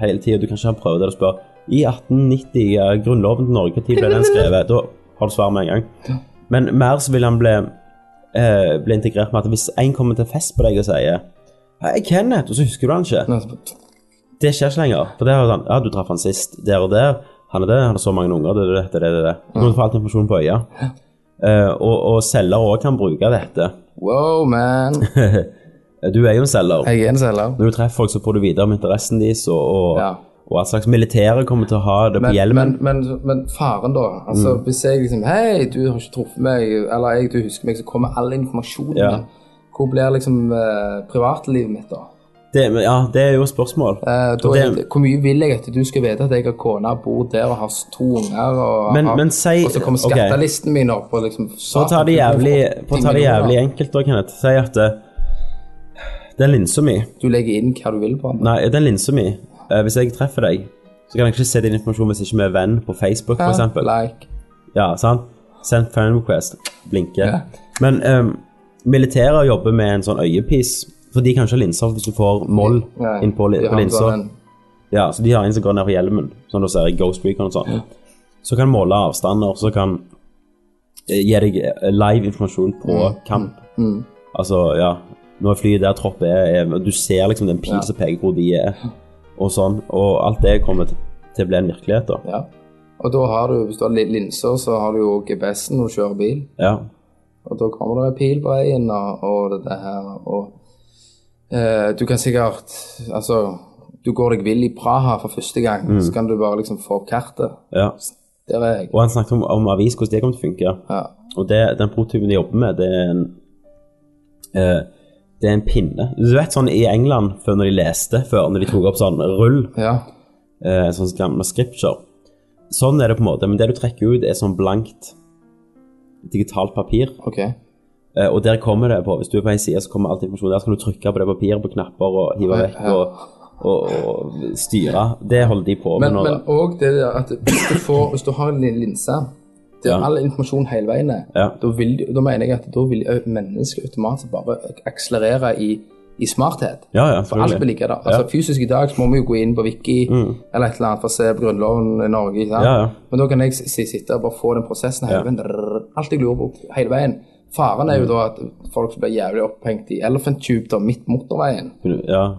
A: hele tida. Du kan ikke ha en prøve der du spør I 1890, eh, Grunnloven til Norge, når ble den skrevet? Da har du svar med en gang. Men mer så vil han bli, eh, bli integrert med at hvis en kommer til fest på deg og sier Hei, Kenneth, og så husker du han ikke.
C: Nei, så-
A: Det skjer ikke lenger. For det er jo sånn Ja, du traff han sist. Der og der. Han er det, han har så mange unger, det er det, det er det, det. Du kan få all informasjon på øya. Eh, og, og selger òg kan bruke dette. Eh,
C: Wow, man.
A: Du er jo en selger.
C: Jeg er en selger.
A: Når du treffer folk, så får du videre om interessen deres, og, og,
C: Ja.
A: og all slags militære kommer til å ha det på
C: Men,
A: hjelmen. Mm.
C: men, men, men faren, da. Altså, Hvis jeg liksom Hei, du har ikke truffet meg, eller jeg, du husker meg, så kommer all informasjonen.
A: Ja.
C: Hvor blir liksom eh, privatlivet mitt, da?
A: det, men ja, det er jo et spørsmål.
C: Eh, da
A: Og
C: er
A: det-
C: det, hvor mye vil jeg at du skal vite at jeg har kone, bor der og har to unger? Og,
A: Men-
C: har,
A: men si-
C: og så kommer
A: ok.
C: skattelisten min opp og liksom
A: For å ta det jævlig, for å ta det jævlig enkelt, da, Kenneth. Si at eh, den linsa mi
C: Du legger inn hva du vil på den.
A: Nei, den linsa mi eh, Hvis jeg treffer deg, så kan jeg ikke se din informasjon hvis ikke vi er venn på Facebook,
C: Ja,
A: f.eks.
C: Like.
A: Ja, sant? Send friend request. Blinke.
C: Ja.
A: Men um, militæret jobber med en sånn øyepis, for de kan ikke ha linser hvis du får moll
C: Nei,
A: inn på, li-
C: de har
A: på linsa.
C: sånn en-
A: Ja, så de har en som går ned på hjelmen, sånn du ser i Ghost Recon og sånn. Så kan måle avstander, så kan eh, gi deg eh, live informasjon på
C: Mm.
A: kamp. Altså, ja, når flyet der troppet er, er og du ser liksom den pil som peker hvor de er, og sånn, og alt det kommer til, til å bli en virkelighet da.
C: Ja. Og da har du, hvis du har litt linser, så har du jo GPS-en når du kjører bil.
A: Ja,
C: Og da kommer det en pil på veien og, og det her. Og eh, du kan sikkert Altså, du går deg vill i Praha for første gang,
A: Mm.
C: så kan du bare liksom få opp kartet.
A: Ja.
C: Der er jeg.
A: Og han snakket om, om avis, hvordan det kommer til å funke.
C: Ja.
A: Og det, den prototypen de jobber med, det er en eh, Det er en pinne. Du vet sånn i England, før når de leste, før når de tok opp sånn rull,
C: ja.
A: eh, sånn gamle scripture. Sånn er det på en måte, men det du trekker ut, er sånn blankt digitalt papir.
C: Ok.
A: Eh, og der kommer det på. Hvis du er på ei side, så kommer alt informasjon der. Så kan du trykke på det papiret på knapper og hive vekk
C: Ja.
A: og, og, og styre. Det holder de på med
C: Men
A: nå.
C: men
A: da.
C: òg det der at hvis du, får, hvis du har en liten linse der
A: Ja.
C: all informasjon hele veien er,
A: Ja.
C: da, vil, de- da mener jeg at da vil ø- mennesket automatisk bare akselerere i, i smarthet.
A: Ja, ja,
C: For alt vil
A: selvfølgelig.
C: ligge der. Altså, Fysisk i dag så må vi jo gå inn på Wiki eller et eller annet for å se på Grunnloven i Norge. Ikke sant?
A: Ja, ja.
C: Men da kan jeg s- s- sitte og bare få den prosessen hele
A: Ja. Mm.
C: veien. Drrrr, Alt jeg lurer på hele veien. Faren er jo da at folk som blir jævlig opphengt i elephant tube da, midt motorveien.
A: Ja,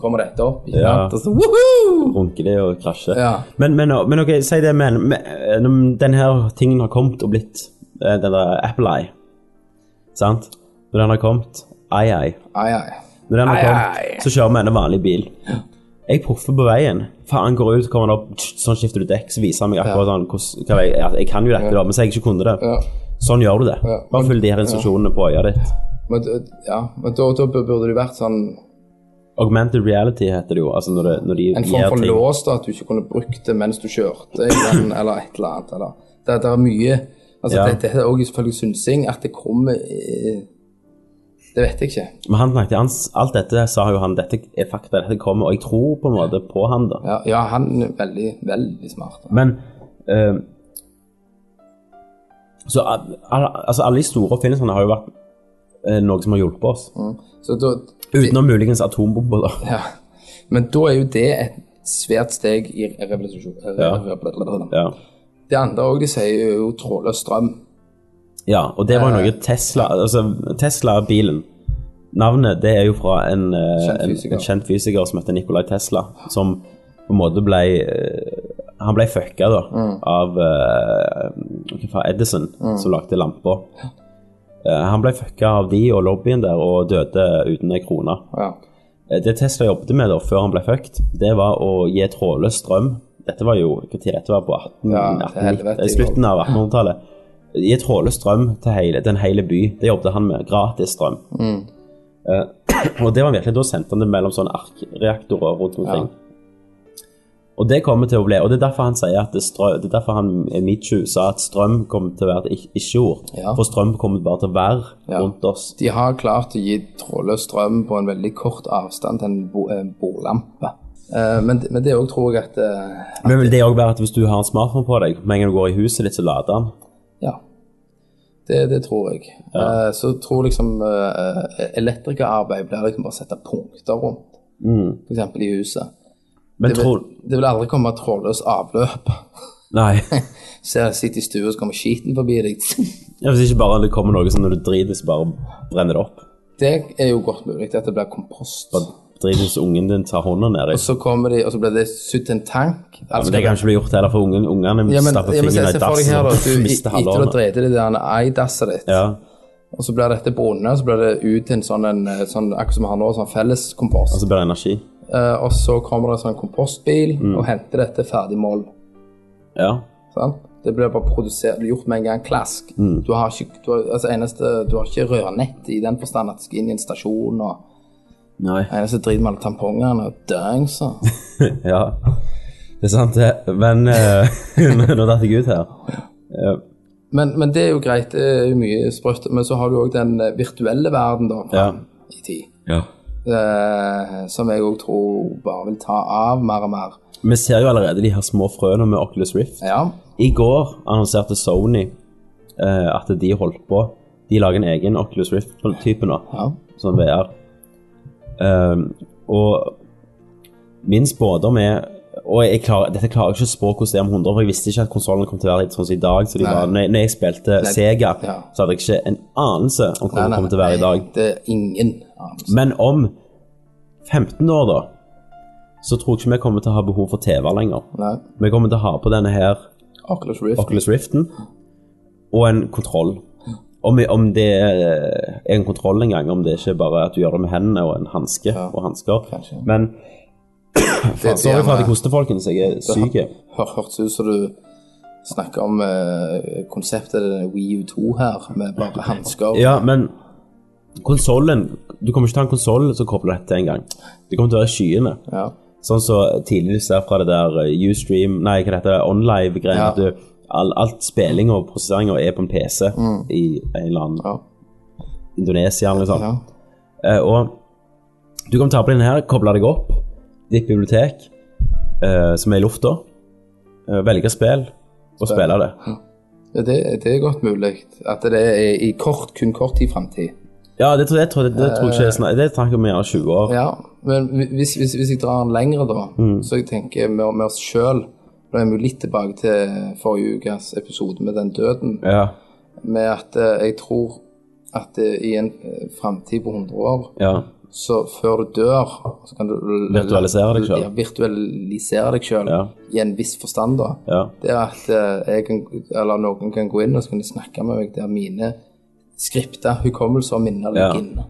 C: Kommer dette opp? Ikke
A: Ja.
C: sant? Og så, woohoo!
A: runker de og krasjer.
C: Ja.
A: Men, men, men ok, si det men, men når den her tingen har kommet og blitt eh, den der Apple Eye, sant? Når den har kommet, ai ai.
C: Ai, ai.
A: Når den har
C: Ai, ai.
A: kommet, så kjører vi en vanlig bil. Jeg proffer på veien. Faen, går ut, kommer han opp, sånn skifter du dekk, så viser han meg akkurat sånn, hvordan, hva jeg, ja, jeg kan jo dette da, men så jeg ikke kunne det.
C: Ja.
A: Sånn gjør du det.
C: Ja.
A: Bare følg de her instruksjonene på øya ditt.
C: Men, d- ja, men da, da burde det vært sånn
A: Augmented reality heter det jo, altså når, det, når de
C: en form
A: gir
C: for
A: ting.
C: lås, da, at du ikke kunne brukt det mens du kjørte, igjen, eller et eller annet. Eller. Det, det er mye altså,
A: Ja.
C: Dette er også selvfølgelig synsing, at det kommer eh, Det vet jeg ikke.
A: Men han snakket, han, alt dette sa jo han, dette er fakta, dette kommer, og jeg tror på en måte på han da.
C: Ja, ja han er veldig, veldig smart. da.
A: Men eh, Så al- al- altså, alle de store oppfinnelsene har jo vært eh, noe som har hjulpet oss.
C: Så da,
A: Utenom muligens atombomber, da.
C: ja. Men da er jo det et svært steg i revolusjon. eh,
A: Ja. Ja.
C: Det andre òg de sier, er jo trådløs strøm.
A: ja, og det var
C: Eh,
A: jo noe Tesla Altså, Tesla-bilen Navnet det er jo fra en, eh,
C: Kjent
A: en,
C: fysiker.
A: en kjent fysiker som heter Nikolai Tesla, som på en måte ble eh, Han ble fucka da,
C: Mm.
A: av eh, hva faen, Edison, som lagde lampa. Eh, han ble fucka av de og lobbyen der, og døde uten ei krone.
C: Ja.
A: Eh, Det Tesla jobbet med da, før han ble fucked, det var å gi trådløs strøm. Dette var jo hva tid dette var på 18,
C: Ja, til
A: 18,
C: helvete,
A: eh, slutten av 1800-tallet. Gi trådløs strøm til hele, den hele by. Det jobbet han med. Gratis strøm. Eh, og det var virkelig, da sendte han det mellom sånne arkreaktorer rundt omkring. Og det kommer til å bli, og det er derfor han sier at det, strø, det er derfor han eh, Michu sa at strøm kommer til å være et ik- ikke-ord.
C: Ja.
A: For strøm kommer bare til å være
C: Ja.
A: rundt oss.
C: De har klart å gi trådløs strøm på en veldig kort avstand til en bo- eh, bordlampe. Eh, men, men det òg tror jeg at eh,
A: Men vil det òg være at hvis du har en smartphone på deg, med en gang du går i huset ditt, så lader den?
C: Ja. Det, det tror jeg. Eh, så tror liksom eh, eh, elektrikerarbeid blir liksom bare å sette punkter rundt. For eksempel i huset.
A: Mm. Men
C: Det vil,
A: tror
C: det vil aldri komme trådløs avløp.
A: Nei.
C: Ser sitter i stua, så kommer skiten forbi deg.
A: Ja, Hvis ikke bare det kommer noe som når du driter, så bare brenner det opp.
C: Det er jo godt mulig at det blir kompost.
A: Driter så ungen din tar hånda nedi.
C: Så kommer de, og så blir det sydd til en tank. Alt
A: Men det kan ikke bli gjort heller, for ungen, ungene
C: Ja, men,
A: stapper
C: ja, men se,
A: fingrene
C: se
A: i
C: for deg
A: dassen
C: her,
A: og
C: da. at Du, i-
A: mister
C: etter du har
A: halvårene.
C: drevet det der eidasset ditt,
A: Ja.
C: og så blir dette bonde, så blir det ut til en sånn, en, eh, sånn akkurat som vi har nå, sånn felles kompost.
A: Og så blir det energi.
C: Eh, og så kommer det en sånn kompostbil
A: Mm.
C: og henter dette ferdig mål.
A: Ja.
C: Sant? Det blir bare produsert, gjort med en gang klask.
A: Mm.
C: Du har ikke, du har, altså eneste, du har ikke rørnett i den forstand at det skal inn i en stasjon, og
A: Nei.
C: eneste drit med alle tampongene og altså. døgnsa.
A: Ja. Det er sant, det. Men eh, Nå datt jeg ut her.
C: Men, men det er jo greit, det er jo mye sprøtt. Men så har du òg den eh, virtuelle verden, da, fram i tid.
A: Ja.
C: eh, som jeg òg tror bare vil ta av mer og mer.
A: Vi ser jo allerede de her små frøene med Oculus Rift.
C: Ja,
A: I går annonserte Sony eh, at de holdt på. De lager en egen Oculus Rift-type nå.
C: ja.
A: sånn VR. Ehm, og min spådom er Og jeg klarer, dette klarer jeg ikke å spå hvordan det er om 100, for jeg visste ikke at konsollen kom til å være litt sånn som i dag. Så de
C: Nei.
A: var, når, jeg, når jeg spilte Sega,
C: Ja.
A: så hadde jeg ikke en anelse om hva
C: Nei,
A: den
C: nei,
A: kom til å være i dag.
C: Det er ingen anelse.
A: Men om 15 år, da, så tror jeg ikke vi kommer til å ha behov for TV lenger.
C: Nei.
A: Vi kommer til å ha på denne her
C: Oculus Rift.
A: Oculus Riften og en kontroll. Om, om det er en kontroll en gang, om det ikke bare er at du gjør det med hendene og en hanske og hansker.
C: kanskje.
A: Men
C: Det er
A: Sorry for at jeg
C: gjerne-
A: koster, folkens. Jeg er syk.
C: Hør, hørtes ut som du snakker om eh, konseptet Wii U 2 her, med bare hansker.
A: Ja, men konsollen Du kommer ikke til å ha en konsoll som kobler dette til engang. Det kommer til å være skyene.
C: Ja.
A: Sånn som tidligere du ser fra det der eh, Ustream, nei, hva det heter det,
C: Ja.
A: OnLive-greiene. at du- All, alt spilling og prosessering er på en PC
C: Mm.
A: i en eller annen
C: Ja.
A: Indonesia eller noe sånt.
C: Ja.
A: Eh, og du kan ta på denne her, koble deg opp, ditt bibliotek, eh, som er i lufta, eh, velge spill og spille det.
C: Ja, det, det er godt mulig. At det er i kort, kun kort i framtid.
A: Ja, det tror jeg, tror, det, det tror jeg ikke er snak- Det snakker vi om gjerne 20 år.
C: Ja, men hvis, hvis, hvis jeg drar den lengre, da,
A: Mm.
C: så jeg tenker med, med oss sjøl Nå er vi jo litt tilbake til forrige ukes episode med den døden.
A: Ja,
C: Med at eh, jeg tror at eh, i en framtid på 100 år,
A: ja.
C: så før du dør så kan du
A: Virtualisere deg selv.
C: Ja, virtualisere deg sjøl
A: Ja.
C: i en viss forstand, da.
A: ja.
C: Det er at eh, jeg kan, eller noen kan gå inn og så kan de snakke med meg der mine skripta hukommelser og minner
A: Ja.
C: ligger inne.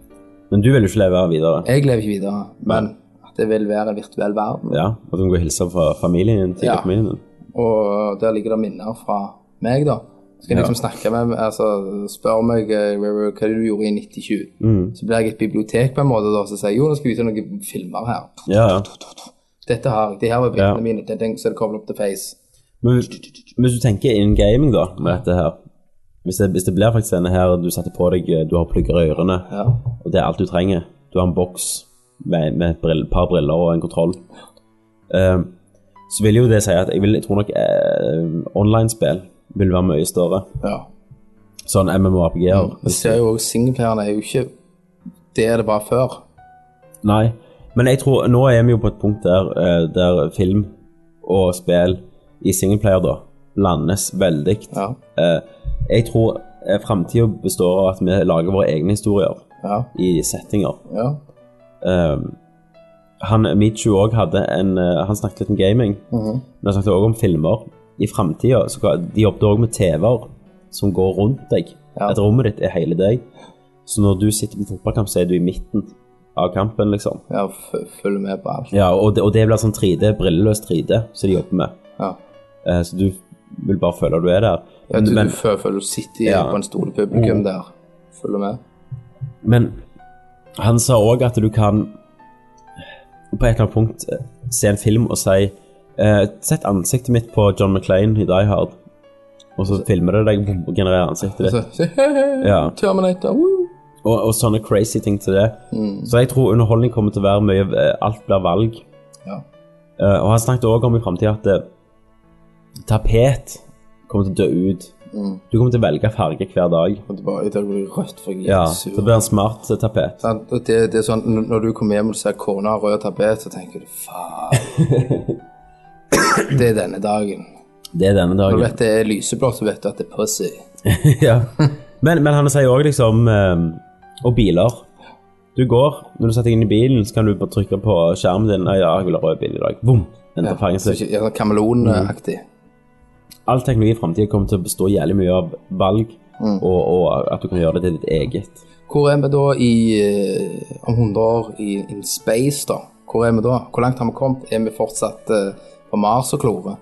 A: Men du vil jo ikke leve videre.
C: Jeg lever ikke videre, men at det vil være en virtuell verden.
A: Ja, At du må gå og hilse fra familien din til
C: Ja.
A: familien din.
C: Og der ligger det minner fra meg, da. Så kan jeg
A: Ja.
C: liksom snakke med altså Spør meg eh, hva hva du gjorde i 9020.
A: Mm.
C: Så blir jeg et bibliotek på en måte, da, som sier jeg, jo, nå skal vi vise noen filmer her.
A: Ja, ja.
C: Dette har jeg, det her var bildene
A: Ja.
C: mine, det er den som er koblet opp til Face.
A: Men hvis, hvis du tenker in gaming, da, med dette her Hvis det, hvis det blir faktisk denne her du setter på deg, eh, du har plugger i ørene,
C: Ja.
A: og det er alt du trenger Du har en boks med, med et brill, par briller og en kontroll. Eh, så vil jo det si at jeg, vil, jeg tror nok eh, online-spill vil være mye større.
C: ja.
A: Sånn MMORPG-er.
C: Vi ser jo også singleplayerne er jo ikke det det var før.
A: Nei, men jeg tror nå er vi jo på et punkt der, eh, der film og spill i singleplayer da landes veldig.
C: Ja.
A: Eh, Jeg tror framtida består av at vi lager våre egne historier
C: Ja.
A: i settinger.
C: ja.
A: Eh, Han, Michu også hadde en, eh, han snakket litt om gaming,
C: Mhm.
A: men han snakket også om filmer. I framtida jobbet også med TV-er som går rundt deg.
C: Ja.
A: At rommet ditt er hele deg. Så når du sitter på en fotballkamp, så er du i midten av kampen, liksom.
C: Ja, f- følger med på alt.
A: Ja, og det, og det blir sånn 3D, brilleløs 3D, som de jobber med.
C: Ja.
A: Eh, så du vil bare føle at du er der.
C: Ja, du,
A: men,
C: du fø- føler du sitter i-
A: Ja. Mm.
C: på en stol i publikum der. Følger med.
A: men han sa òg at du kan på et eller annet punkt eh, se en film og si eh, Sett ansiktet mitt på John McClane i Die Hard, og så filmer det deg boom, og genererer ansiktet ditt.
C: Så, så, he, he,
A: Ja.
C: Terminator, woo!
A: Og, og sånne crazy ting til det.
C: Mm.
A: Så jeg tror underholdning kommer til å være mye eh, Alt blir valg.
C: Ja.
A: Eh, og han snakket også om i fremtiden at eh, tapet kommer til å dø ut.
C: Mm.
A: Du kommer til å velge farge hver dag.
C: Og det bare, det blir rødt for jeg er
A: Ja,
C: sur.
A: det blir en smart eh, tapet.
C: Sant? Og det, det er sånn, n- Når du kommer hjem og ser kona har rød tapet, så tenker du faen. det er denne dagen.
A: Det er denne
C: Når du
A: dagen.
C: vet det er lyseblått, så vet du at det er pussy.
A: ja. men, men han sier også liksom eh, Og biler. Du går, når du setter deg inn i bilen, så kan du bare trykke på skjermen din. «Nei, Ja, jeg vil ha rød bil i dag. Boom! Den tar fanget
C: Så
A: seg.
C: ikke- ja, sånn Kameleonaktig.
A: All teknologi i fremtiden kommer til å bestå jævlig mye av valg,
C: Mm.
A: og, og at du kan gjøre det til ditt eget.
C: Hvor er vi da i, eh, om 100 år i in space, da? Hvor er vi da? Hvor langt har vi kommet? Er vi fortsatt eh, på Mars og klore?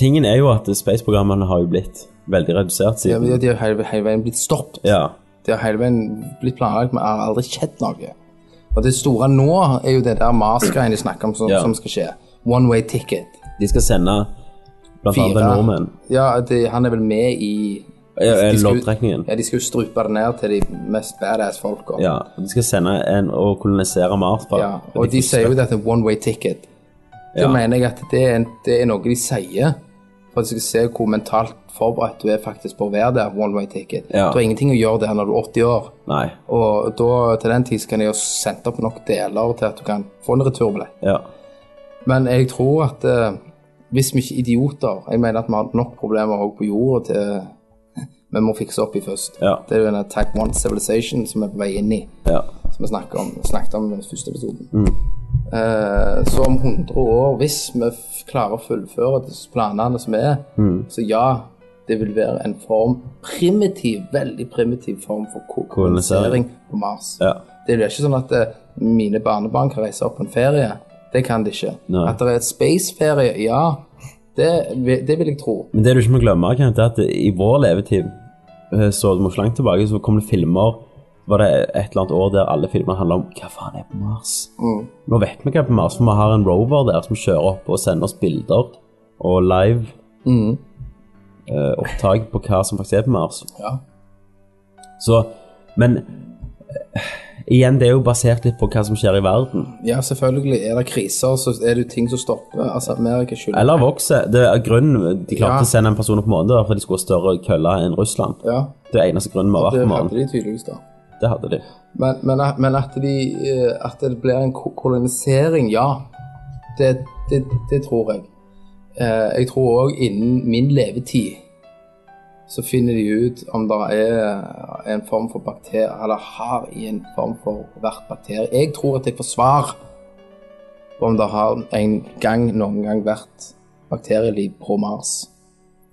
A: Tingen er jo at space-programmene har jo blitt veldig redusert
C: Ja, men
A: siden.
C: De har hele, hele veien blitt stoppet.
A: Ja.
C: Det har hele veien blitt planlagt, men har aldri skjedd noe. Og det store nå er jo det der Mars-greiene de snakker om som,
A: Ja.
C: som skal skje. One way ticket.
A: De skal sende blant annet
C: Fire.
A: nordmenn.
C: Ja, det, han er vel med i
A: Ja, ja,
C: de skal-
A: loddtrekningen.
C: Ja, de skal jo strupe det ned til de mest badass folka.
A: Ja, de skal sende en og kolonisere Mars. bare.
C: Ja, og de sier jo dette one way ticket. Så
A: Ja.
C: mener jeg at det er, en, det er noe de sier for at du skal se hvor mentalt forberedt du er faktisk på å være der. one way ticket.
A: Ja.
C: Du har ingenting å gjøre der når du er 80 år.
A: Nei.
C: Og da, til den tid så kan de jo sende opp nok deler til at du kan få en returbillett.
A: Ja.
C: Men jeg tror at eh, hvis vi ikke er idioter Jeg mener at vi har nok problemer også på jorda til vi må fikse opp i først.
A: Ja.
C: Det er jo denne Tag One Civilization som vi er på vei inn i
A: ja.
C: som vi snakket om, snakket om i den første episoden.
A: Mm.
C: Eh, så om 100 år, hvis vi f- klarer å fullføre disse planene som er,
A: Mm.
C: så ja, det vil være en form primitiv, veldig primitiv form for ko-
A: Kolonisering.
C: kolonisering på Mars.
A: Ja.
C: Det blir ikke sånn at eh, mine barnebarn kan reise opp på en ferie Det kan det ikke.
A: Nei.
C: At det er et spaceferie, ja, det, vil- det vil jeg tro.
A: Men det du ikke må glemme, Kent, er at i vår levetid, eh, så du må ikke langt tilbake, så kom det filmer Var det et eller annet år der alle filmer handla om hva faen er på Mars?
C: Mm.
A: Nå vet vi hva er på Mars, for vi har en rover der som kjører opp og sender oss bilder og live
C: Mm.
A: eh, opptak på hva som faktisk er på Mars.
C: Ja.
A: Så Men eh, igjen, det er jo basert litt på hva som skjer i verden.
C: Ja, selvfølgelig. Er det kriser, så er det jo ting som stopper. Altså, Amerika skylder
A: Eller vokser. Det er grunnen de klarte
C: Ja.
A: å sende en person opp måneden, var fordi de skulle ha større kølle enn Russland.
C: Ja,
A: Det er eneste grunnen vi har vært
C: det
A: på
C: hadde
A: månen.
C: de tydeligvis, da.
A: Det hadde de.
C: Men, men, at- men at, de, eh, at det blir en ko- kolonisering, ja. Det, det, det tror jeg. Eh, Jeg tror òg innen min levetid så finner de ut om det er en form for bakterie, eller har i en form for hvert bakterie. Jeg tror at jeg får svar på om det har en gang, noen gang vært bakterieliv på Mars.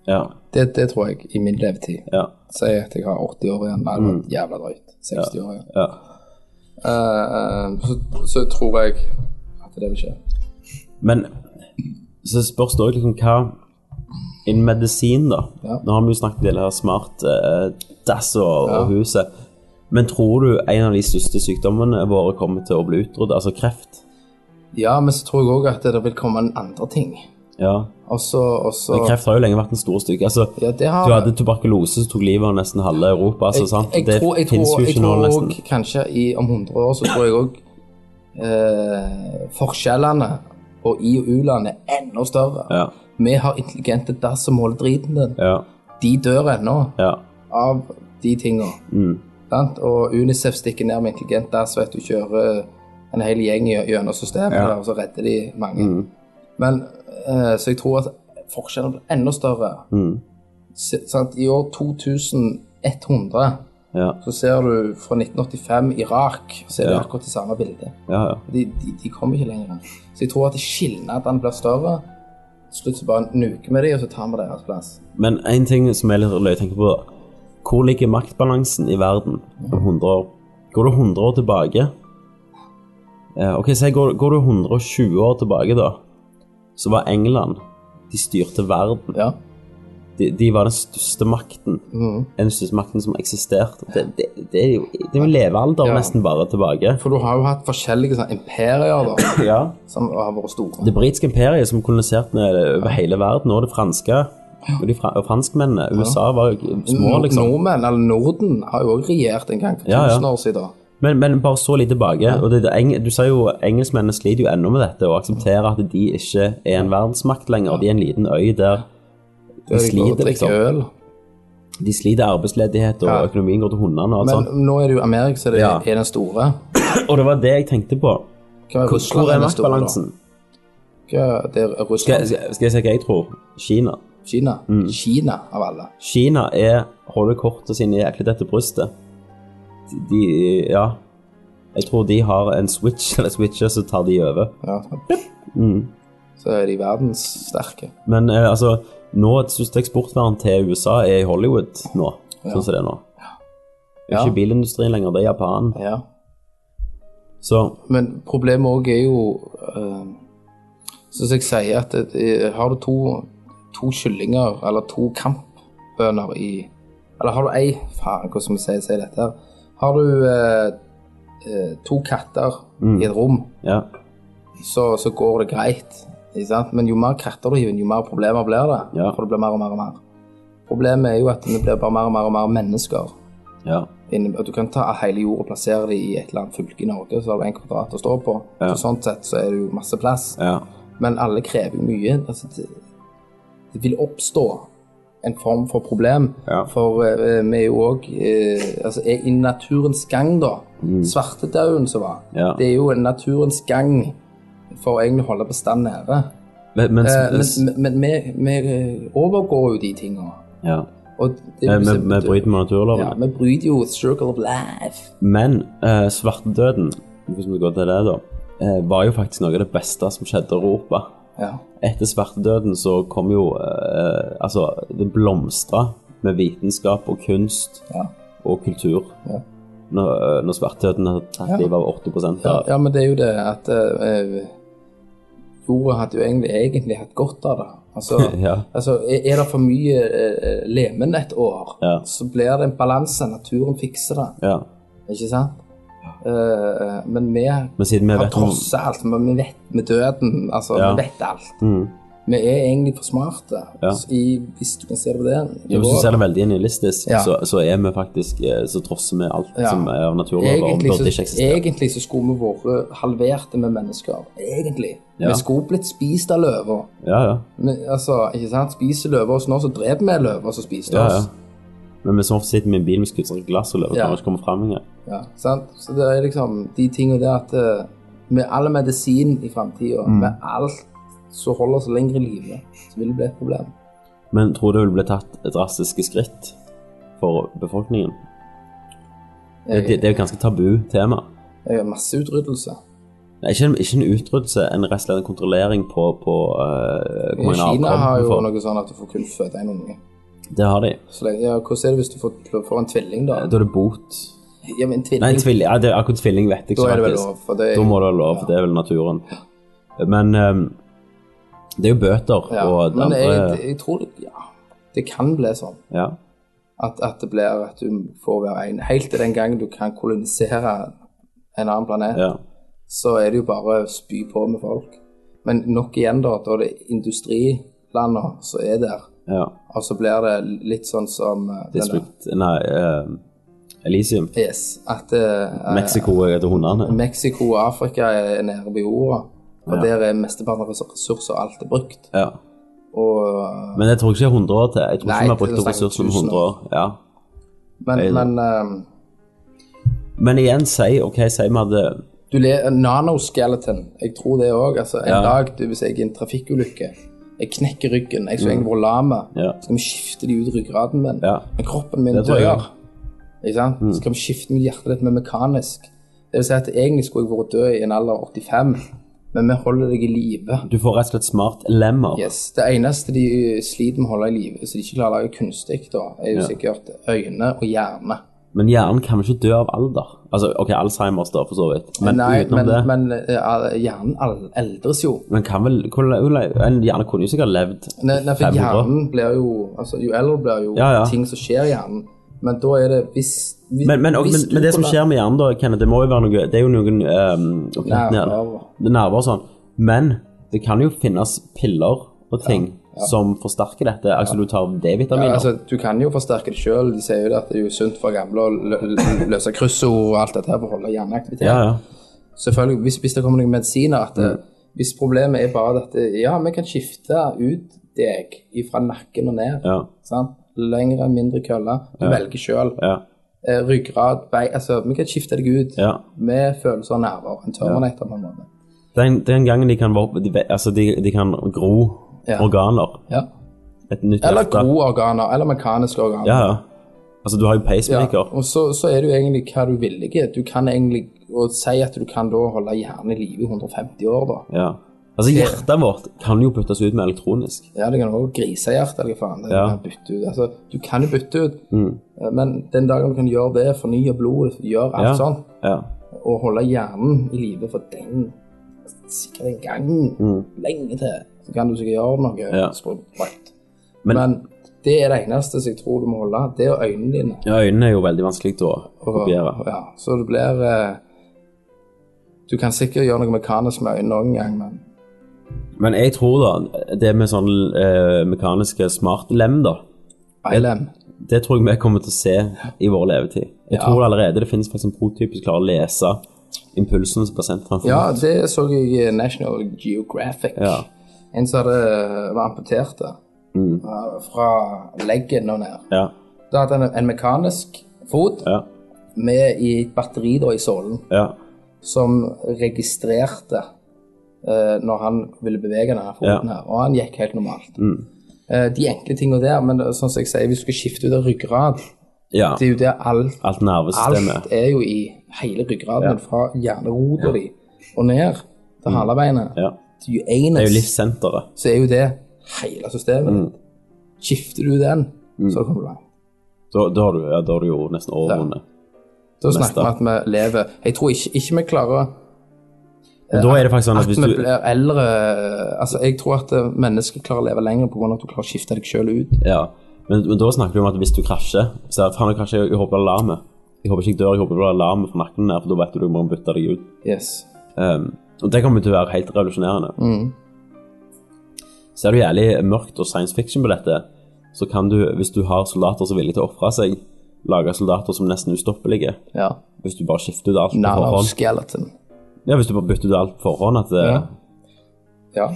A: Ja.
C: Det, det tror jeg i min levetid.
A: ja, Mm.
C: Si at jeg har 80 år igjen, eller jævla drøyt. 60 år igjen.
A: ja.
C: Eh, så, så tror jeg at det vil skje.
A: Men så spørs det òg liksom hva Innen medisin, da.
C: Ja.
A: Nå har vi jo snakket en del her smart eh, dass og, og huset. Men tror du en av de største sykdommene våre kommer til å bli utryddet? Altså kreft?
C: Ja, men så tror jeg òg at det vil komme en andre ting.
A: Ja.
C: Og så og så-
A: Men kreft har jo lenge vært en stor stygge. Altså,
C: Ja, det har
A: du hadde tuberkulose som tok livet av nesten halve Europa. Altså, sant?
C: Jeg,
A: det
C: jeg tror, jeg
A: finnes
C: tror,
A: jo
C: jeg
A: ikke nå
C: tror
A: nesten.
C: også, kanskje i, om 100 år så tror jeg òg eh, forskjellene på i- og u-land er enda større.
A: Ja,
C: Vi har intelligente dass som holder driten din.
A: ja,
C: De dør ennå
A: ja.
C: av de tinga.
A: Mm.
C: Sant? Og Unicef stikker ned med intelligent dass, vet du, kjører en hel gjeng gjø- gjennom systemet,
A: Ja. Mm.
C: og så redder de mange. Men, eh, så jeg tror at forskjellen blir enda større.
A: Mm.
C: Se- Sant? I år 2100
A: ja,
C: så ser du fra 1985 Irak, så er det
A: Ja.
C: akkurat det samme bildet.
A: ja, ja.
C: De, de, de kommer ikke lenger. Så jeg tror at skilnadene blir større. Til slutt så bare nuker vi de, og så tar vi deres plass.
A: Men en ting som er litt løy å tenke på Hvor ligger maktbalansen i verden om 100 år? Går du 100 år tilbake? Eh, ok, si går, går du 120 år tilbake da Så var England De styrte verden
C: Ja.
A: De, de var den største makten
C: Mhm.
A: Den største makten som eksisterte Det, det, det er jo det er jo levealder
C: Ja.
A: nesten bare tilbake
C: For du har jo hatt forskjellige sånn, imperier da,
A: Ja
C: som har vært store.
A: Det britiske imperiet som koloniserte over hele verden Og det franske Og de fra, og franskmennene USA var jo små
C: Nord-
A: liksom
C: Nordmenn, eller Norden, har jo også regjert en gang for
A: Ja, ja.
C: 1000 år siden.
A: Men, men bare så litt tilbake. og det, det, eng- du sier jo engelskmennene sliter jo ennå med dette og aksepterer at de ikke er en verdensmakt lenger. De er en liten øy der de sliter, liksom.
C: Øl.
A: De sliter arbeidsledighet, og
C: Ja.
A: økonomien går til hundene og alt
C: Men
A: sånt.
C: nå er det jo Amerika som er,
A: sånn? Ja.
C: er den store.
A: Og det var det jeg tenkte på.
C: Hvem er
A: Hvor,
C: Russland
A: hvor er
C: den store, da?
A: maktbalansen?
C: Hva- Det er
A: Skal,
C: Russland.
A: skal skal jeg Mm. si hva jeg tror? Kina.
C: Kina. Kina, av alle.
A: Kina er holder kortet sine jæklig dette brystet. De, de Ja. Jeg tror de har en switch eller switcher, så tar de over. Mm.
C: Ja. Så er de verdenssterke.
A: Men eh, altså, nå et største eksportvern til USA er i Hollywood nå, sånn som det er nå. Det er
C: Ja.
A: Ikke bilindustrien lenger, det er Japan.
C: Ja.
A: Så
C: Men problemet òg er jo eh, Sånn som jeg sier, at det, det- har du to, to kyllinger, eller to kampbønder i Eller har du ei Faen, hvordan vi sier, sier dette her. Har du eh, eh, to katter i et rom,
A: ja,
C: så, så går det greit. Ikke sant? Men jo mer katter du hiver inn, jo mer problemer blir det.
A: Ja.
C: For det blir mer og mer og mer. Problemet er jo at det blir bare mer og mer og mer mennesker.
A: ja,
C: Inne- at du kan ta hele jorda og plassere det i et eller annet fylke i Norge, så har du en kvadrat å stå på.
A: Ja.
C: Så sånn sett så er det jo masse plass.
A: ja,
C: Men alle krever jo mye. Altså, det, det vil oppstå en form for problem.
A: Ja.
C: For eh, vi er jo òg eh, altså, er i naturens gang, da. Svartedauden som var.
A: Mm. Ja.
C: Det er jo en naturens gang for egentlig å holde bestanden nede.
A: Men, men,
C: Eh,
A: men,
C: men men vi, vi eh, overgår jo de tinga.
A: ja.
C: Og det-
A: Men- men- men bryter med
C: ja,
A: naturlovene.
C: vi bryter jo circle of life.
A: Men eh, svartedøden, hvis vi går til det, da, eh, var jo faktisk noe av det beste som skjedde i Europa.
C: Ja.
A: Etter svartedøden så kom jo eh, Altså, det blomstra med vitenskap og kunst
C: Ja.
A: og kultur. eh,
C: Ja.
A: Når, når svartedøden hadde tatt
C: Ja.
A: livet av 80
C: Ja,
A: av
C: ja, men det er jo det at eh, jorda hadde jo egentlig, egentlig hatt godt av det. Altså,
A: Ja.
C: altså er er det for mye eh, lemen et år,
A: Ja.
C: så blir det en balanse. Naturen fikser det,
A: Ja.
C: ikke sant? Eh, men vi
A: Men siden vi
C: har
A: vet om
C: trosset alt. men Vi vet med døden, altså.
A: Ja.
C: Vi vet alt.
A: Mhm.
C: Vi er egentlig for smarte,
A: Ja.
C: så i, hvis du kan se det på det.
A: Ja, hvis du ser det veldig nihilistisk,
C: Ja.
A: så, så er vi faktisk eh, Så trosser vi alt
C: Ja.
A: som er av naturen vår, og
C: Egentlig
A: burde
C: så,
A: ikke eksistere.
C: egentlig så skulle vi vært halverte med mennesker. Egentlig.
A: Ja.
C: Vi skulle blitt spist av løver.
A: Ja, ja.
C: Men, altså, ikke sant? Spiser løver oss nå, så dreper vi løver som spiste
A: ja, ja.
C: oss.
A: Men vi som ofte sitter med en bil med skuddsikkert glass og løver,
C: Ja.
A: kan vi ikke komme fram engang.
C: Ja, sant? Så det er liksom de tingene der at eh, med all medisin i framtida,
A: Mm.
C: med alt som holder oss lenger i live, så vil det bli et problem.
A: Men tror du det vil bli tatt drastiske skritt for befolkningen? Det, det,
C: Jeg,
A: det er jo et ganske tabu tema.
C: jeg har masseutryddelse.
A: Nei, ikke, en- ikke en utryddelse, en rett og slett en kontrollering på, på eh, hvor mange
C: Kina har
A: avkom vi
C: jo
A: får.
C: noe sånn at du får kun føde en unge.
A: Det har de.
C: Så lenge, ja, hvordan er det hvis du får, får en tvilling, da?
A: Da er det bot.
C: Ja, men en
A: Nei,
C: tvilling,
A: tvilling, ja, det, akkurat tvilling vet jeg
C: da
A: ikke,
C: er det vel
A: faktisk.
C: lov? For det er,
A: Da må det være lov,
C: Ja.
A: for det er vel naturen. Men ehm, det er jo bøter
C: ja.
A: og det
C: Men
A: andre
C: jeg, jeg tror det- ja, det kan bli sånn.
A: ja.
C: at, at det blir at du får være en. Helt til den gangen du kan kolonisere en annen planet,
A: ja.
C: så er det jo bare å spy på med folk. Men nok igjen, da, da det er industrilandene som er der.
A: ja.
C: Og så blir det litt sånn som eh, den der-
A: District Nei, ehm, Elysium.
C: Yes, at eh,
A: Mexico er etter
C: eh,
A: hundene.
C: Mexico og Afrika er nede ved jorda. Og
A: Ja.
C: der er mesteparten av ressurs- ressurser og alt er brukt.
A: Ja.
C: Og, eh,
A: Men jeg tror ikke det er 100 år til. Jeg tror
C: Nei,
A: ikke vi har brukt
C: det er
A: opp ressursene om
C: tusen
A: 100 år. Ja.
C: men
A: jeg-
C: men eh,
A: Men igjen, si OK, si vi hadde
C: du le, eh, Nanoskeleton, jeg tror det òg. Altså, en
A: Ja.
C: dag du, hvis jeg er i en trafikkulykke, jeg knekker ryggen, jeg skulle egentlig vært lam,
A: Mm. Ja.
C: så skal vi skifte de ut i ryggraden min.
A: Ja.
C: Men kroppen min
A: Det tror jeg Mm.
C: dør. Ikke sant? Så skal vi skifte med hjertet ditt med mekanisk. Det vil si at egentlig skulle jeg vært død i en alder av 85, men vi holder deg i live.
A: Du får rett og slett smart lemmer.
C: Yes. Det eneste de eh, sliter med å holde i live, så de ikke klarer å lage kunstig, da, er jo sikkert øyne og hjerne.
A: Men hjernen kan vel ikke dø av alder? Altså OK, Alzheimers, da, for så vidt. Men
C: Nei,
A: utenom
C: men,
A: det men,
C: men eh, hjernen al- eldres jo.
A: kan vel hvordan- hvordan- En hjerne kunne jo sikkert levd
C: Nei, nei, for
A: 500 år.
C: hjernen blir jo altså, Jo eldre blir jo
A: Ja, ja.
C: ting som skjer i hjernen. Men da er det hvis, hvis
A: Men, men, og, men,
C: hvis du
A: men det som
C: kunne-
A: skjer med hjernen, da, Kenneth, det må jo være noe Det er jo noen um,
C: Nerver.
A: nerver og sånn. Men det kan jo finnes piller og ting som forsterker dette. Altså du tar
C: Ja,
A: D-vitaminer.
C: altså, Du kan jo forsterke det sjøl. De sier jo det at det er jo sunt for gamle å lø- lø- løse kryssord og alt dette her for å holde hjerneaktivitet.
A: ja, Mm. ja.
C: Selvfølgelig, hvis, hvis det kommer noen medisiner at det, Hvis problemet er bare at det, ja, vi kan skifte ut deg fra nakken og ned.
A: Ja.
C: Sant? Lengre, mindre kølle. Du velger sjøl.
A: ja,
C: Eh, ryggrad, bein Altså, vi kan skifte deg ut
A: ja.
C: med følelser og nerver. En terminator på en måte.
A: Den, den gangen de kan, vå- de, ve- altså, de, de kan gro
C: Ja.
A: organer.
C: Ja.
A: Et nytt
C: Eller
A: hjerte.
C: gode organer, eller mekaniske organer.
A: Ja, ja. Altså du har jo pacemaker.
C: Og så, så er det jo egentlig hva du villig er. Du kan egentlig og si at du kan da holde hjernen i live i 150 år, da.
A: Ja. Altså hjertet vårt kan jo byttes ut med elektronisk.
C: Ja, det kan også grisehjerte eller hva faen. Det
A: Ja. Mm.
C: du kan bytte ut. Altså, du kan jo bytte ut, eh, men den dagen du kan gjøre det, fornye blodet, gjøre alt
A: Ja.
C: sånn,
A: Ja.
C: og holde hjernen i live for den sikkert en gang lenge til, så kan du sikkert gjøre noe
A: Mm. Ja.
C: sprøtt.
A: Men-
C: Men, det er det eneste som jeg tror du må holde, det er øynene dine.
A: ja, øynene er jo veldig vanskelig å kopiere.
C: Ja, så det blir eh, Du kan sikkert gjøre noe mekanisk med øynene noen gang, men
A: Men jeg tror da, det med sånn eh, mekaniske smart lem da,
C: ILM
A: det tror jeg vi kommer til å se i vår levetid. Jeg
C: Ja.
A: tror allerede det finnes faktisk en prototyp som klarer å lese impulsene som blir sendt framfor.
C: Ja, det så jeg i National Geographic.
A: Ja. Mm.
C: En som hadde var amputert da, eh, fra leggen og ned.
A: Ja,
C: Da hadde han en mekanisk fot
A: ja,
C: med i et batteri da, i sålen
A: ja,
C: som registrerte eh, når han ville bevege denne foten her, og han gikk helt normalt.
A: Mm.
C: Eh, de enkle tingene der, men det er sånn som jeg sier, hvis du skal skifte ut av ryggrad,
A: ja.
C: det er jo der alt
A: Alt nervesystemet.
C: Alt er jo i hele ryggraden, din, fra hjernerota di og ned til halebeinet.
A: Mm. Ja.
C: Til jo
A: Det er jo Mm.
C: anus,
A: livssenteret.
C: så er jo det hele systemet. Skifter du den,
A: Mm.
C: så kommer du langt.
A: Da, da, har du, ja, da har du jo nesten overvunnet.
C: Da snakker vi at vi lever Jeg tror ikke, ikke vi klarer
A: Men da er det faktisk sånn at
C: eh, At
A: hvis
C: vi
A: du
C: blir eldre Altså, jeg tror at eh, mennesker klarer å leve lenger pga. at du klarer å skifte deg sjøl ut.
A: Ja, men, men da snakker vi om at hvis du krasjer Så er det, faen, jeg krasjer, jeg håper det er alarme Jeg håper ikke jeg dør, jeg håper det er alarme fra nakken der For da vet du du må bytte deg ut
C: Yes. Mm.
A: um, Og det kommer til å være helt revolusjonerende Så er det jo jævlig mørkt og science fiction på dette Så kan du, hvis du har soldater som er villige til å offre seg Lage soldater som nesten ustoppelige
C: Ja.
A: Hvis du bare skifter ut alt på forhånd
C: Nanoskeleton.
A: Ja, hvis du bare bytter ut alt på forhånd at,
C: Ja.
A: eh,
C: Ja,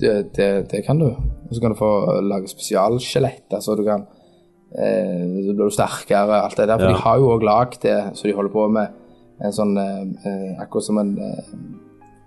C: det, det, det kan du. Og så kan du få lage spesialskjelett. Altså du kan eh, Så blir du sterkere, alt det der. For
A: Ja.
C: de har jo òg lagd det som de holder på med, en sånn eh, eh, Akkurat som en eh,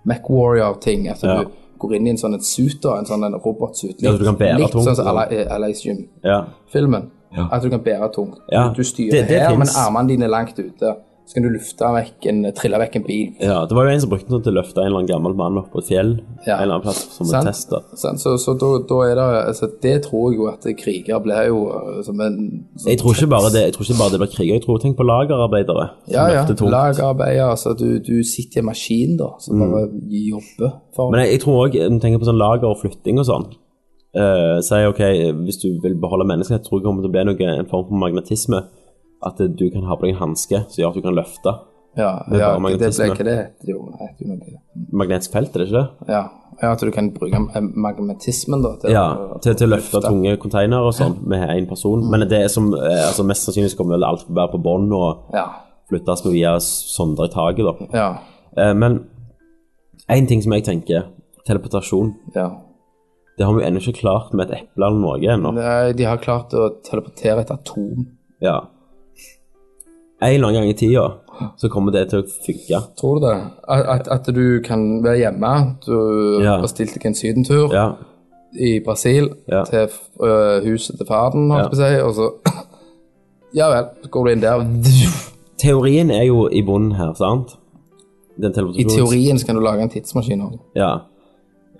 C: MacWarrior-ting. At
A: Ja.
C: du går inn i en sånn en suit, da, en sånn en robotsuit.
A: Ja, så du kan bære
C: likt
A: tungt,
C: sånn som
A: ja.
C: Ala- eh, Alice Jim-filmen.
A: ja. Ja.
C: At du kan bære tungt.
A: Ja,
C: Du styrer
A: det- det
C: her, men
A: finnes.
C: armene dine er langt ute. Så kan du lufte vekk en, trille vekk en bil.
A: ja, det var jo en som brukte den til å løfte en eller annen gammel mann opp på et fjell
C: Ja.
A: En eller annen plass som
C: Sant.
A: en test da
C: Sant? Så, så da, da er det altså, Det tror jeg jo at kriger blir jo eh, som en som
A: Jeg tror ikke bare det, jeg tror ikke bare det blir kriger. Jeg tror, tenk på lagerarbeidere. som
C: Ja, ja.
A: løfter tungt. Mm.
C: Lagarbeid. Altså, du, du sitter i en maskin, da, som bare jobber for
A: Men jeg, jeg tror òg, tenker på sånn lager og flytting og sånn uh, Si ok, hvis du vil beholde menneskelighet, tror jeg det kommer til å bli noe, en form for magnetisme. At eh, du kan ha på deg en hanske som gjør at du kan løfte.
C: Ja,
A: er bare
C: ja det
A: magnetisme.
C: ble ikke det heter jo, det heter jo noe.
A: Magnetisk felt, er det ikke det?
C: Ja. ja, at du kan bruke eh, magnetismen, da. til
A: Ja,
C: å-
A: Eh, til, til å løfte tunge containere og sånn med én person. Men det er som eh, altså Mest sannsynlig så kommer vel alt til å være på bånd og
C: Ja.
A: flyttes noe via sonder i taket, da.
C: Ja.
A: Eh, men én ting som jeg tenker Teleportasjon.
C: ja.
A: Det har vi jo ennå ikke klart med et eple eller noe ennå.
C: Nei, De har klart å teleportere et atom.
A: Ja. En eller annen gang i tida så kommer det til å funke.
C: Tror du det? At, at, at du kan være hjemme. Du
A: Ja.
C: bestilte deg en sydentur.
A: Ja.
C: i Brasil
A: Ja.
C: til øh, huset til faren, holdt jeg på å si, og så Ja vel, så går du inn der.
A: Teorien er jo i bunnen her, sant? Den
C: I
A: teleportasjons-
C: teorien så kan du lage en tidsmaskin òg.
A: Ja.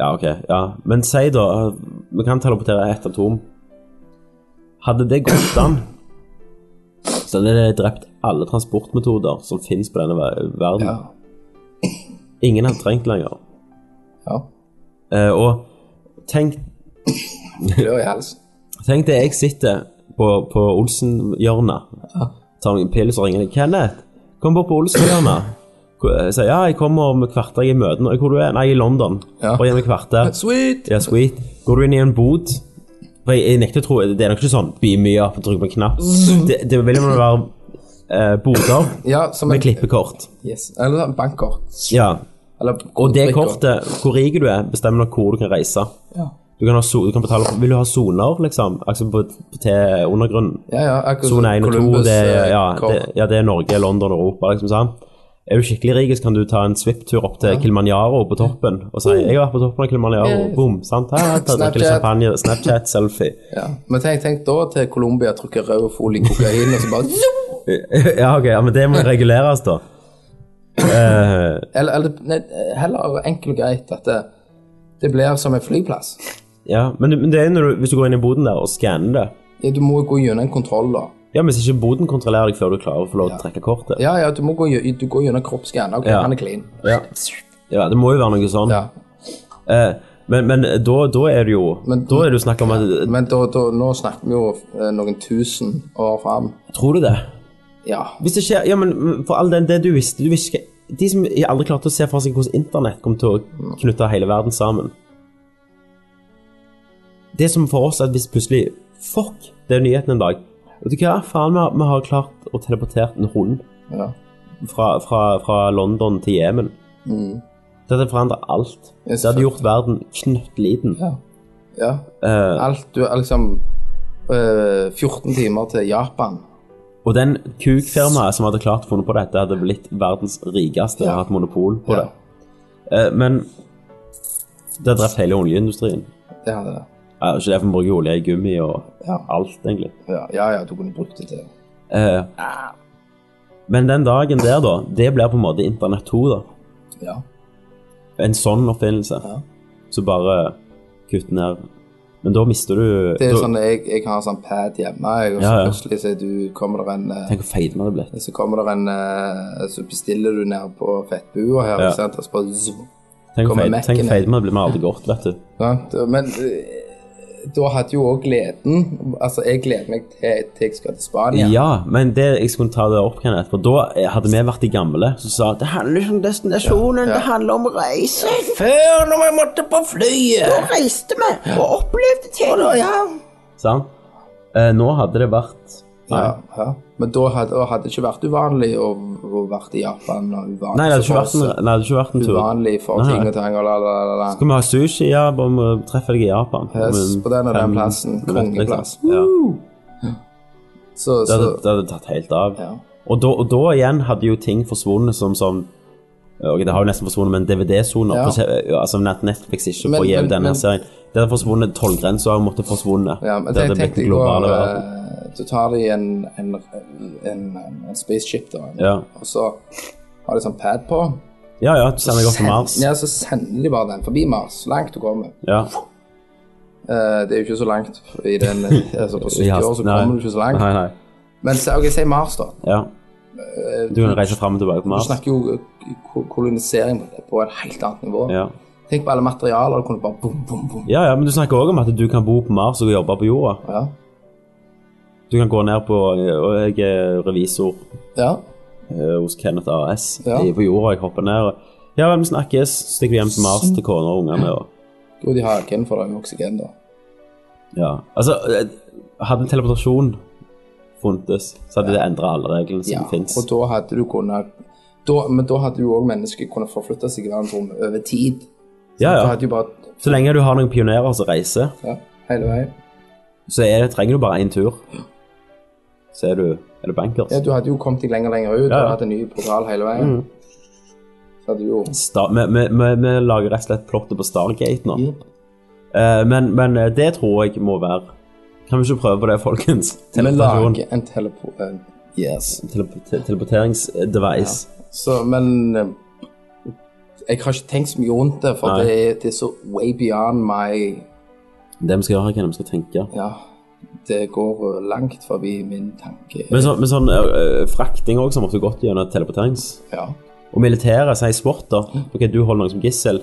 A: ja, ok. ja. Men si da eh, Vi kan teleportere ett atom. Hadde det gått an, så hadde det drept alle transportmetoder som finnes på denne ver- verden.
C: Ja.
A: Ingen hadde trengt lenger.
C: ja.
A: Eh, og tenk
C: Klør i halsen.
A: Tenk deg, jeg sitter på, på Olsen-hjørnet. Tar meg en pille, så ringer jeg. 'Kenneth, kom bort på Olsen-hjørnet.' Hvor- Jeg sier 'ja, jeg kommer om et kvarter, jeg er i møte nå.' 'Hvor du er?' 'Nei, jeg er i London.'
C: Ja.
A: Bare gi meg et kvarter.
C: Sweet!
A: Ja, sweet. Går du inn i en bod For jeg, jeg nekter å tro Det er nok ikke sånn 'beam me up' og trykk på en knapp.
C: Mm.
A: Det, det vil jo være eh, boder
C: Ja, som
A: med
C: en
A: klippekort.
C: yes. Eller en bankkort.
A: Ja.
C: Eller
A: Og det
C: kortbrikker.
A: kortet, hvor rik du er, bestemmer nok hvor du kan reise.
C: Ja.
A: Du kan, ha so du kan betale for Vil du ha soner, liksom? Altså på, til undergrunnen?
C: Ja, ja, akkurat som
A: Sone 1 og 2,
C: Columbus,
A: det, er-
C: eh,
A: ja,
C: kort.
A: det, ja, det er Norge, London og Europa, liksom sant? Er du skikkelig rik, så kan du ta en svipptur opp til Kilimanjaro på toppen og si 'Jeg har vært på toppen av Kilimanjaro', boom, sant? Her, her, drikker litt
C: Uh. Snapchat.
A: champagne, Snapchat, selfie.
C: ja. Men tenk, tenk da til Colombia trykker rød folie kokain, og så bare
A: Ja, ok, ja, men det må reguleres, da. Eh,
C: Eller, eller nei, heller enkelt og greit at det, det blir som en flyplass.
A: ja, men, men det er jo når du, hvis du går inn i boden der og skanner det
C: Ja, du må jo gå gjennom en kontroll, da.
A: Ja, men hvis ikke boden kontrollerer deg før du klarer å få lov til å trekke kortet
C: Ja, ja, du må gå, gjø- du går gjennom kroppsskann. Ok,
A: Ja.
C: han er clean.
A: Ja. ja, det må jo være noe sånn.
C: Ja.
A: Eh, men men da, da er det jo
C: Men-
A: Da er det jo snakk om at
C: Men da, da, nå snakker vi jo eh, noen tusen år fram.
A: Tror du det?
C: Ja.
A: Hvis det skjer, ja, men mm, for all den det du visste, du visste ikke- De som aldri klarte å se for seg hvordan internett kom til å knytte hele verden sammen. Det som for oss er at hvis plutselig Fuck, det er nyheten en dag. Vet du hva, faen, vi har, vi har klart å teleportere en hund
C: ja.
A: fra, fra, fra London til Jemen.
C: Mm.
A: Dette forandrer alt.
C: Ja,
A: Det hadde gjort verden knøttliten.
C: Ja. ja.
A: Eh,
C: Alt du er liksom eh, 14 timer til Japan.
A: og den kukfirmaet som hadde klart å funne på dette, hadde blitt verdens rikeste og
C: Ja.
A: hatt monopol på
C: Ja,
A: det. Eh, Men det har drept hele oljeindustrien.
C: det hadde det.
A: Eh, Ikke derfor bruker olje i gummi og
C: Ja.
A: alt, egentlig.
C: Ja, ja, ja, du kunne brukt det til
A: Eh, Men den dagen der, da, det blir på en måte Internett 2, da.
C: Ja.
A: En sånn oppfinnelse.
C: Ja.
A: Så bare kutt ned. Men da mister du
C: Det er
A: da,
C: sånn jeg, jeg har en sånn pad hjemme, jeg, og så
A: Ja, ja.
C: plutselig så er du, kommer der en eh,
A: Tenk hvor feit vi hadde blitt.
C: Så kommer der en eh, Så bestiller du ned på fettbua her,
A: Ja.
C: ikke sant? og så bare zoom,
A: Tenk
C: Kommer
A: feil, tenk
C: Mac-en
A: feil med blir vi aldri godt, vet du.
C: Sant? Men eh, da hadde jo òg gleden Altså, jeg gleder meg til, til jeg skal til Spania.
A: Ja, men det, jeg skulle ta det opp, Kenneth, for da eh, hadde vi vært de gamle som sa det handler ikke om destinasjonen,
C: Ja, ja.
A: det handler om reisen.
C: Før, når jeg måtte på flyet!
A: Og reiste vi og opplevde ting. Sant? Eh, nå hadde det vært Nei,
C: Ja, ja. Men da hadde da hadde det ikke vært uvanlig å, å vært i Japan. Og uvanlig
A: nei, det hadde ikke vært en,
C: for
A: nei, det hadde ikke vært en
C: oss,
A: tur.
C: Uvanlig for
A: Nei, nei.
C: ting og tang og la, la, la, la.
A: Skal vi ha sushi? Ja, bare må treffe deg i Japan.
C: Yes,
A: Men
C: på den og den
A: fem
C: plassen.
A: minutter, liksom.
C: Kongeplass.
A: Ja.
C: Så,
A: Det
C: så
A: hadde, det hadde tatt helt av.
C: Ja.
A: Og, da, og da igjen hadde jo ting forsvunnet som sånn Ok, det har jo nesten forsvunnet, men DVD-soner
C: Ja.
A: på TV, ja, Altså at Netflix ikke
C: Men-
A: får gi
C: men-
A: ut denne
C: men-
A: serien. Det hadde forsvunnet, tollgrensa har måttet forsvunnet.
C: ja, men
A: det
C: tenk,
A: hadde
C: tenk
A: blitt den
C: deg går,
A: globale verden.
C: eh, Du tar deg en, en, en, en spaceship, da,
A: Ja.
C: og så har de sånn pad på.
A: ja ja, du sender deg opp til
C: Send-
A: Mars.
C: Ja, så sender de bare den forbi Mars, så langt du kommer.
A: Ja.
C: Eh, det er jo ikke så langt i den, altså på 70 år, så
A: Nei.
C: kommer du ikke så langt.
A: Nei, nei.
C: Men se- ok, si Mars, da. Eh,
A: Ja. Du kan reise fram og tilbake på
C: Du
A: Mars.
C: snakker jo eh, ko- kolonisering på et helt annet nivå.
A: Ja.
C: Tenk på alle materialer, du kunne bare bom, bom, bom.
A: ja ja, men du snakker òg om at du kan bo på Mars og jobbe på jorda.
C: Ja.
A: Du kan gå ned på Og jeg er revisor
C: ja.
A: eh, hos Kenneth AS.
C: Ja.
A: Jeg er på jorda, jeg hopper ned og Ja vel, vi snakkes. Stikker vi hjem til Mars til kona og ungene og
C: Jo, de har ikke en for deg med oksygen, da.
A: Ja. Altså, eh, hadde teleportasjon funtes, så hadde det endra alle reglene som
C: Ja,
A: fins.
C: og da hadde du kunnet da, Men da hadde jo òg mennesker kunnet forflytte seg i verdensrommet over tid.
A: Ja,
C: Du
A: ja.
C: hadde jo bare
A: Så lenge du har noen pionerer som reiser,
C: ja, hele veien.
A: så er, trenger du bare én tur. Så er du, er du bankers.
C: Ja, du hadde jo kommet deg lenger og lenger ut
A: Ja, Mm. ja.
C: og hatt en ny portal hele veien. Så hadde du jo
A: Sta- Vi vi- vi- vi lager rett og slett plottet på Stargate nå.
C: Ja.
A: Eh, men, men eh, det tror jeg må være Kan vi ikke prøve på det, folkens?
C: Vi
A: Teleportasjon.
C: lager en telepo... eh, yes.
A: Tele- te- Teleporteringsdevice.
C: Så, men eh, Jeg har ikke tenkt så mye rundt det, for
A: Nei.
C: det, er- det er så way beyond my
A: Det vi skal gjøre, er hva vi skal tenke.
C: Ja, det går eh, langt forbi min tanke.
A: Men, så, men sånn øh, øh, frakting òg, som ofte gått gjennom teleporterings.
C: ja.
A: Og militæret sier sport, da. Ok, du holder noen som gissel.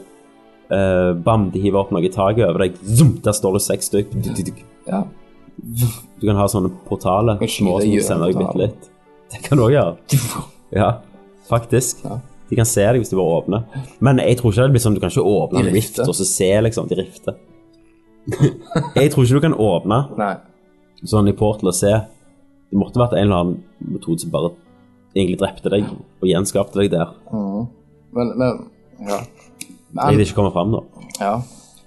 A: Eh, bam, de hiver opp noe i taket over deg. Zoom, der står det seks stykk. Du, du, du,
C: ja.
A: du kan ha sånne portaler.
C: Kan
A: Små
C: skyte
A: som sender
C: gjennom
A: deg bitte
C: portaler.
A: litt. Det kan du òg gjøre. Ja, faktisk.
C: Ja.
A: De kan se deg hvis de bare åpner. Men jeg tror ikke det blir sånn du kan ikke åpne
C: De
A: en rift
C: rifter.
A: og så se liksom de rifter. jeg tror ikke du kan åpne
C: Nei.
A: sånn i Portal å se Det måtte vært en eller annen metode som bare egentlig drepte deg og gjenskapte deg der.
C: Men, men Ja.
A: Jeg
C: Men,
A: vil ikke komme fram nå.
C: ja.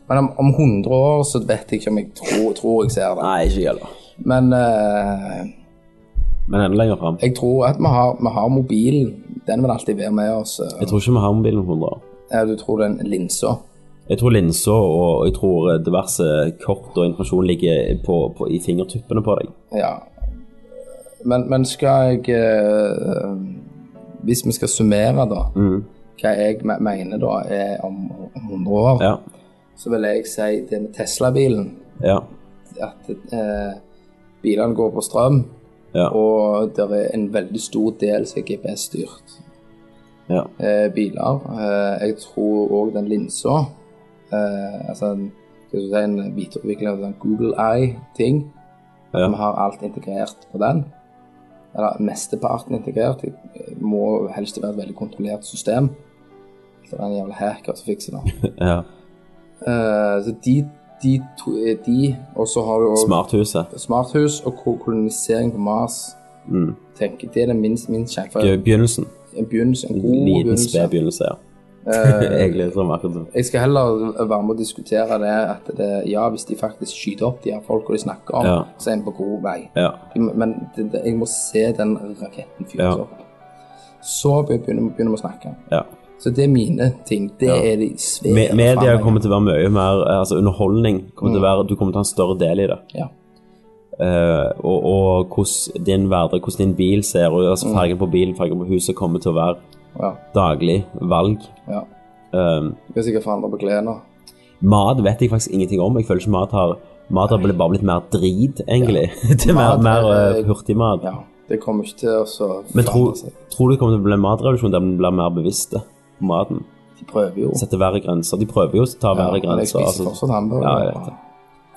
C: men om, om 100 år så vet jeg ikke om jeg tror, tror jeg ser det.
A: Nei, ikke heller.
C: Men eh,
A: Men enda lenger fram.
C: jeg tror at vi har, vi har mobilen. Den vil alltid være med oss. eh.
A: Jeg tror ikke vi har mobilen om 100 år.
C: Ja, du tror den linsa.
A: Jeg tror linser og jeg tror eh, diverse kort og informasjon ligger på, på, i fingertuppene på deg.
C: Ja. Men, men skal jeg eh, Hvis vi skal summere, da, hva jeg me- mener da er om, om 100 år,
A: Ja.
C: så vil jeg si det med Tesla-bilen.
A: Ja.
C: At eh, bilene går på strøm,
A: Ja.
C: og det er en veldig stor del som er GPS-styrt
A: ja.
C: eh, biler. Eh, jeg tror òg den linsa eh, Altså en, skal vi si, en videreutvikling av den Google Eye-ting.
A: Ja.
C: Vi har alt integrert på den. Eller mesteparten integrert. Det må helst være et veldig kontrollert system. Så det er en jævla hacker som fikser det.
A: ja.
C: Eh, så de, de to er de, og så har du òg
A: Smarthuset.
C: smarthus og ko- kolonisering på Mars.
A: Mm.
C: Tenk, det er den minst, minst sjanse for
A: Be- Begynnelsen.
C: en begynnelse, en god
A: Liten
C: begynnelse.
A: sped begynnelse, ja.
C: Eh,
A: Egentlig sånn akkurat som
C: Jeg skal heller være med å diskutere det at det, ja, hvis de faktisk skyter opp de her folka de snakker om,
A: Ja.
C: så er en på god vei.
A: Ja.
C: De må- Men det, det, jeg må se den raketten fyres
A: Ja.
C: opp. Så be- begynner begynner vi å snakke.
A: ja.
C: Så det er mine ting. Det er Mm. de svære
A: Me- Media
C: forandringene.
A: kommer til å være mye mer eh, Altså, underholdning kommer til å være Du kommer til å ha en større del i det.
C: Ja.
A: Eh, og, og hvordan din hverdag, hvordan din bil ser ut, altså
C: Mm.
A: fargen på bilen, fargen på huset, kommer til å være
C: ja,
A: daglig valg.
C: ja.
A: Um,
C: Vi kan sikkert forandre på klærne.
A: mat vet jeg faktisk ingenting om. Jeg føler ikke mat har Mat har bl- bare blitt mer drit, egentlig. til mer,
C: Mat
A: mer
C: er-
A: eh, hurtigmat.
C: Ja, altså. det kommer ikke til å så
A: Men tro,
C: forandre seg.
A: tror du det kommer til å bli en matrevolusjon der vi blir mer bevisste på maten?
C: De prøver jo.
A: Setter hver grenser. De prøver jo å ta hver
C: Ja, men jeg
A: grenser.
C: spiser
A: altså.
C: fortsatt hamburger.
A: Ja, jeg vet det.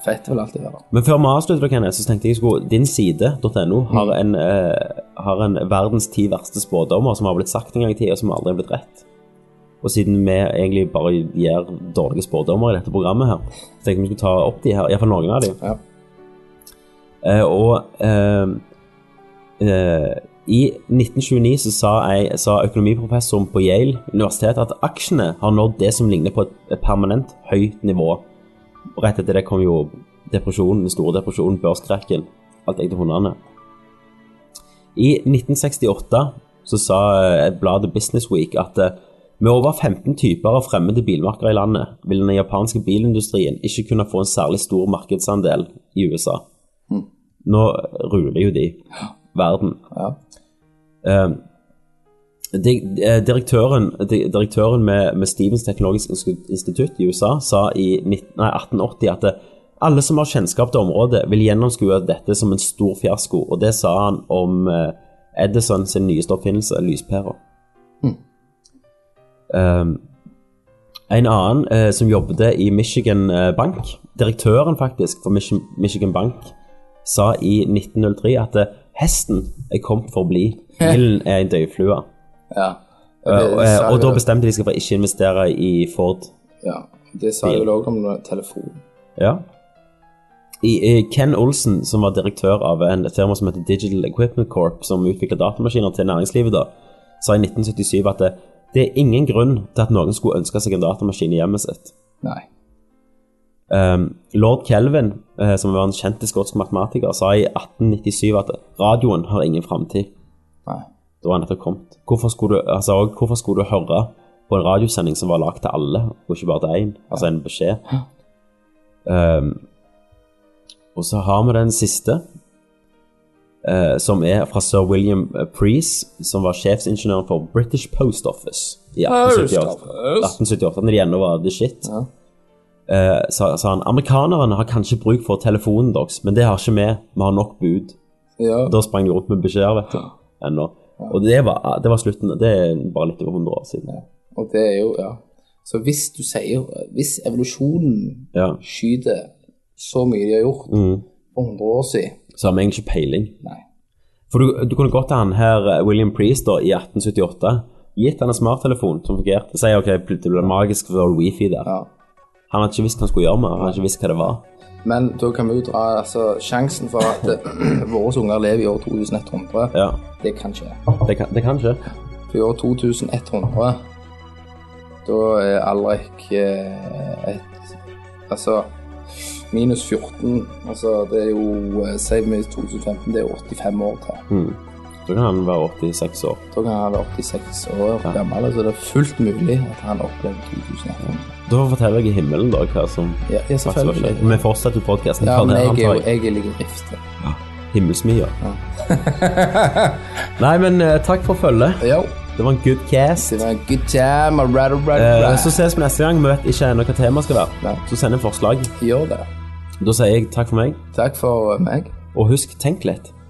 C: Fett vil alltid være der.
A: Men før vi avslutter, Kenneth, så tenkte jeg skulle Din side, .no, har, en, eh, har en verdens ti verste spådommer som har blitt sagt en gang i tida, som aldri er blitt rett. Og siden vi egentlig bare gjør dårlige spådommer i dette programmet her, så tenkte jeg vi skulle ta opp de her, iallfall noen av de.
C: Ja.
A: Eh, og eh, eh, i 1929 så sa, jeg, sa økonomiprofessoren på Yale universitet at aksjene har nådd det som ligner på et, et permanent høyt nivå. Og rett etter det kom jo depresjonen, den store depresjonen, børskrekken, alt gikk til hundene. I 1968 så sa eh, bladet Business Week at eh, med over 15 typer av fremmede bilmerker i landet vil den japanske bilindustrien ikke kunne få en særlig stor markedsandel i USA. Nå ruler jo de verden.
C: Ja.
A: Eh, di- eh, direktøren, di- direktøren med, med Stevens teknologisk Insku- institutt i USA sa i 19, nei, 1880 at det, alle som har kjennskap til området, vil gjennomskue dette som en stor fiasko, og det sa han om eh, Edison sin nyeste oppfinnelse, lyspæra. Eh, en annen eh, som jobbet i Michigan eh, Bank, direktøren faktisk for Mich Michigan Bank, sa i 1903 at eh, hesten er kommet for å bli. Bilen er en døyflue.
C: ja.
A: Eh,
C: det
A: og, eh,
C: sa
A: og
C: jo-
A: da bestemte de seg for å ikke investere i Ford.
C: Ja, det sa jeg vel også om telefon.
A: Ja. I, eh, Ken Olsen, som var direktør av en et firma som heter Digital Equipment Corp, som utvikler datamaskiner til næringslivet, da, sa i 1977 at det, det er ingen grunn til at noen skulle ønske seg en datamaskin i hjemmet sitt.
C: Nei.
A: Um, Lord Kelvin, eh, som var en kjent skotsk matematiker, sa i 1897 at radioen har ingen framtid.
C: Nei.
A: Da var han nettopp kommet. Hvorfor skulle, du, altså, og hvorfor skulle du høre på en radiosending som var lagd til alle, og ikke bare til én? Altså en beskjed. Um, og så har vi den siste, eh, som er fra sir William eh, Preece, som var sjefsingeniøren for British Post Office i 1878,
C: Post
A: 1878 når de ennå var the shit.
C: Ja.
A: Eh, sa, sa han amerikanerne har kanskje bruk for telefonen deres, men det har ikke vi. Vi har nok bud.
C: Ja.
A: Da sprang de rundt med beskjeder, vet du. Ennå. Og det var, det var slutten. Det er bare litt over 100 år siden.
C: Og det er jo, ja. Så hvis du sier, hvis evolusjonen
A: Ja.
C: skyter så mye de har gjort for 100 år siden,
A: Så har vi egentlig ikke peiling.
C: nei.
A: For du, du kunne gått til han her, eh, William Priest, da, i 1878. Gitt han en smarttelefon som fungerte. Si ok, pl- det ble magisk for det var wifi der.
C: Ja.
A: Han hadde ikke visst hva han skulle gjøre med det. Han hadde ikke visst hva det var.
C: Men da kan vi jo dra altså, sjansen for at eh, våre unger lever i år 2100.
A: Ja,
C: Det kan skje.
A: Det kan, det kan ikke.
C: For i år 2100, da er Alrik eh, et Altså minus 14. Altså, det er jo eh, Si vi 2015, det er 85 år til.
A: Mm. Så kan han være 86 år.
C: Da kan han være 86 år gammel, så det er fullt mulig at han opplever 2001.
A: Da forteller jeg i himmelen da hva som
C: Ja, ja, selvfølgelig.
A: faktisk var skjedd. Vi fortsetter jo podkasten.
C: Ja, men jeg, er jo- jeg ligger i rifte.
A: Himmelsmya. Nei, men eh, takk for følget.
C: Jo,
A: Det var en good cast.
C: det var en good time, all right, all right, all
A: Eh,
C: right.
A: så ses vi neste gang. Vi vet ikke ennå hva temaet skal være.
C: Nei.
A: Så send en forslag.
C: gjør det.
A: Da sier jeg takk for meg,
C: Takk for meg.
A: og husk, tenk litt.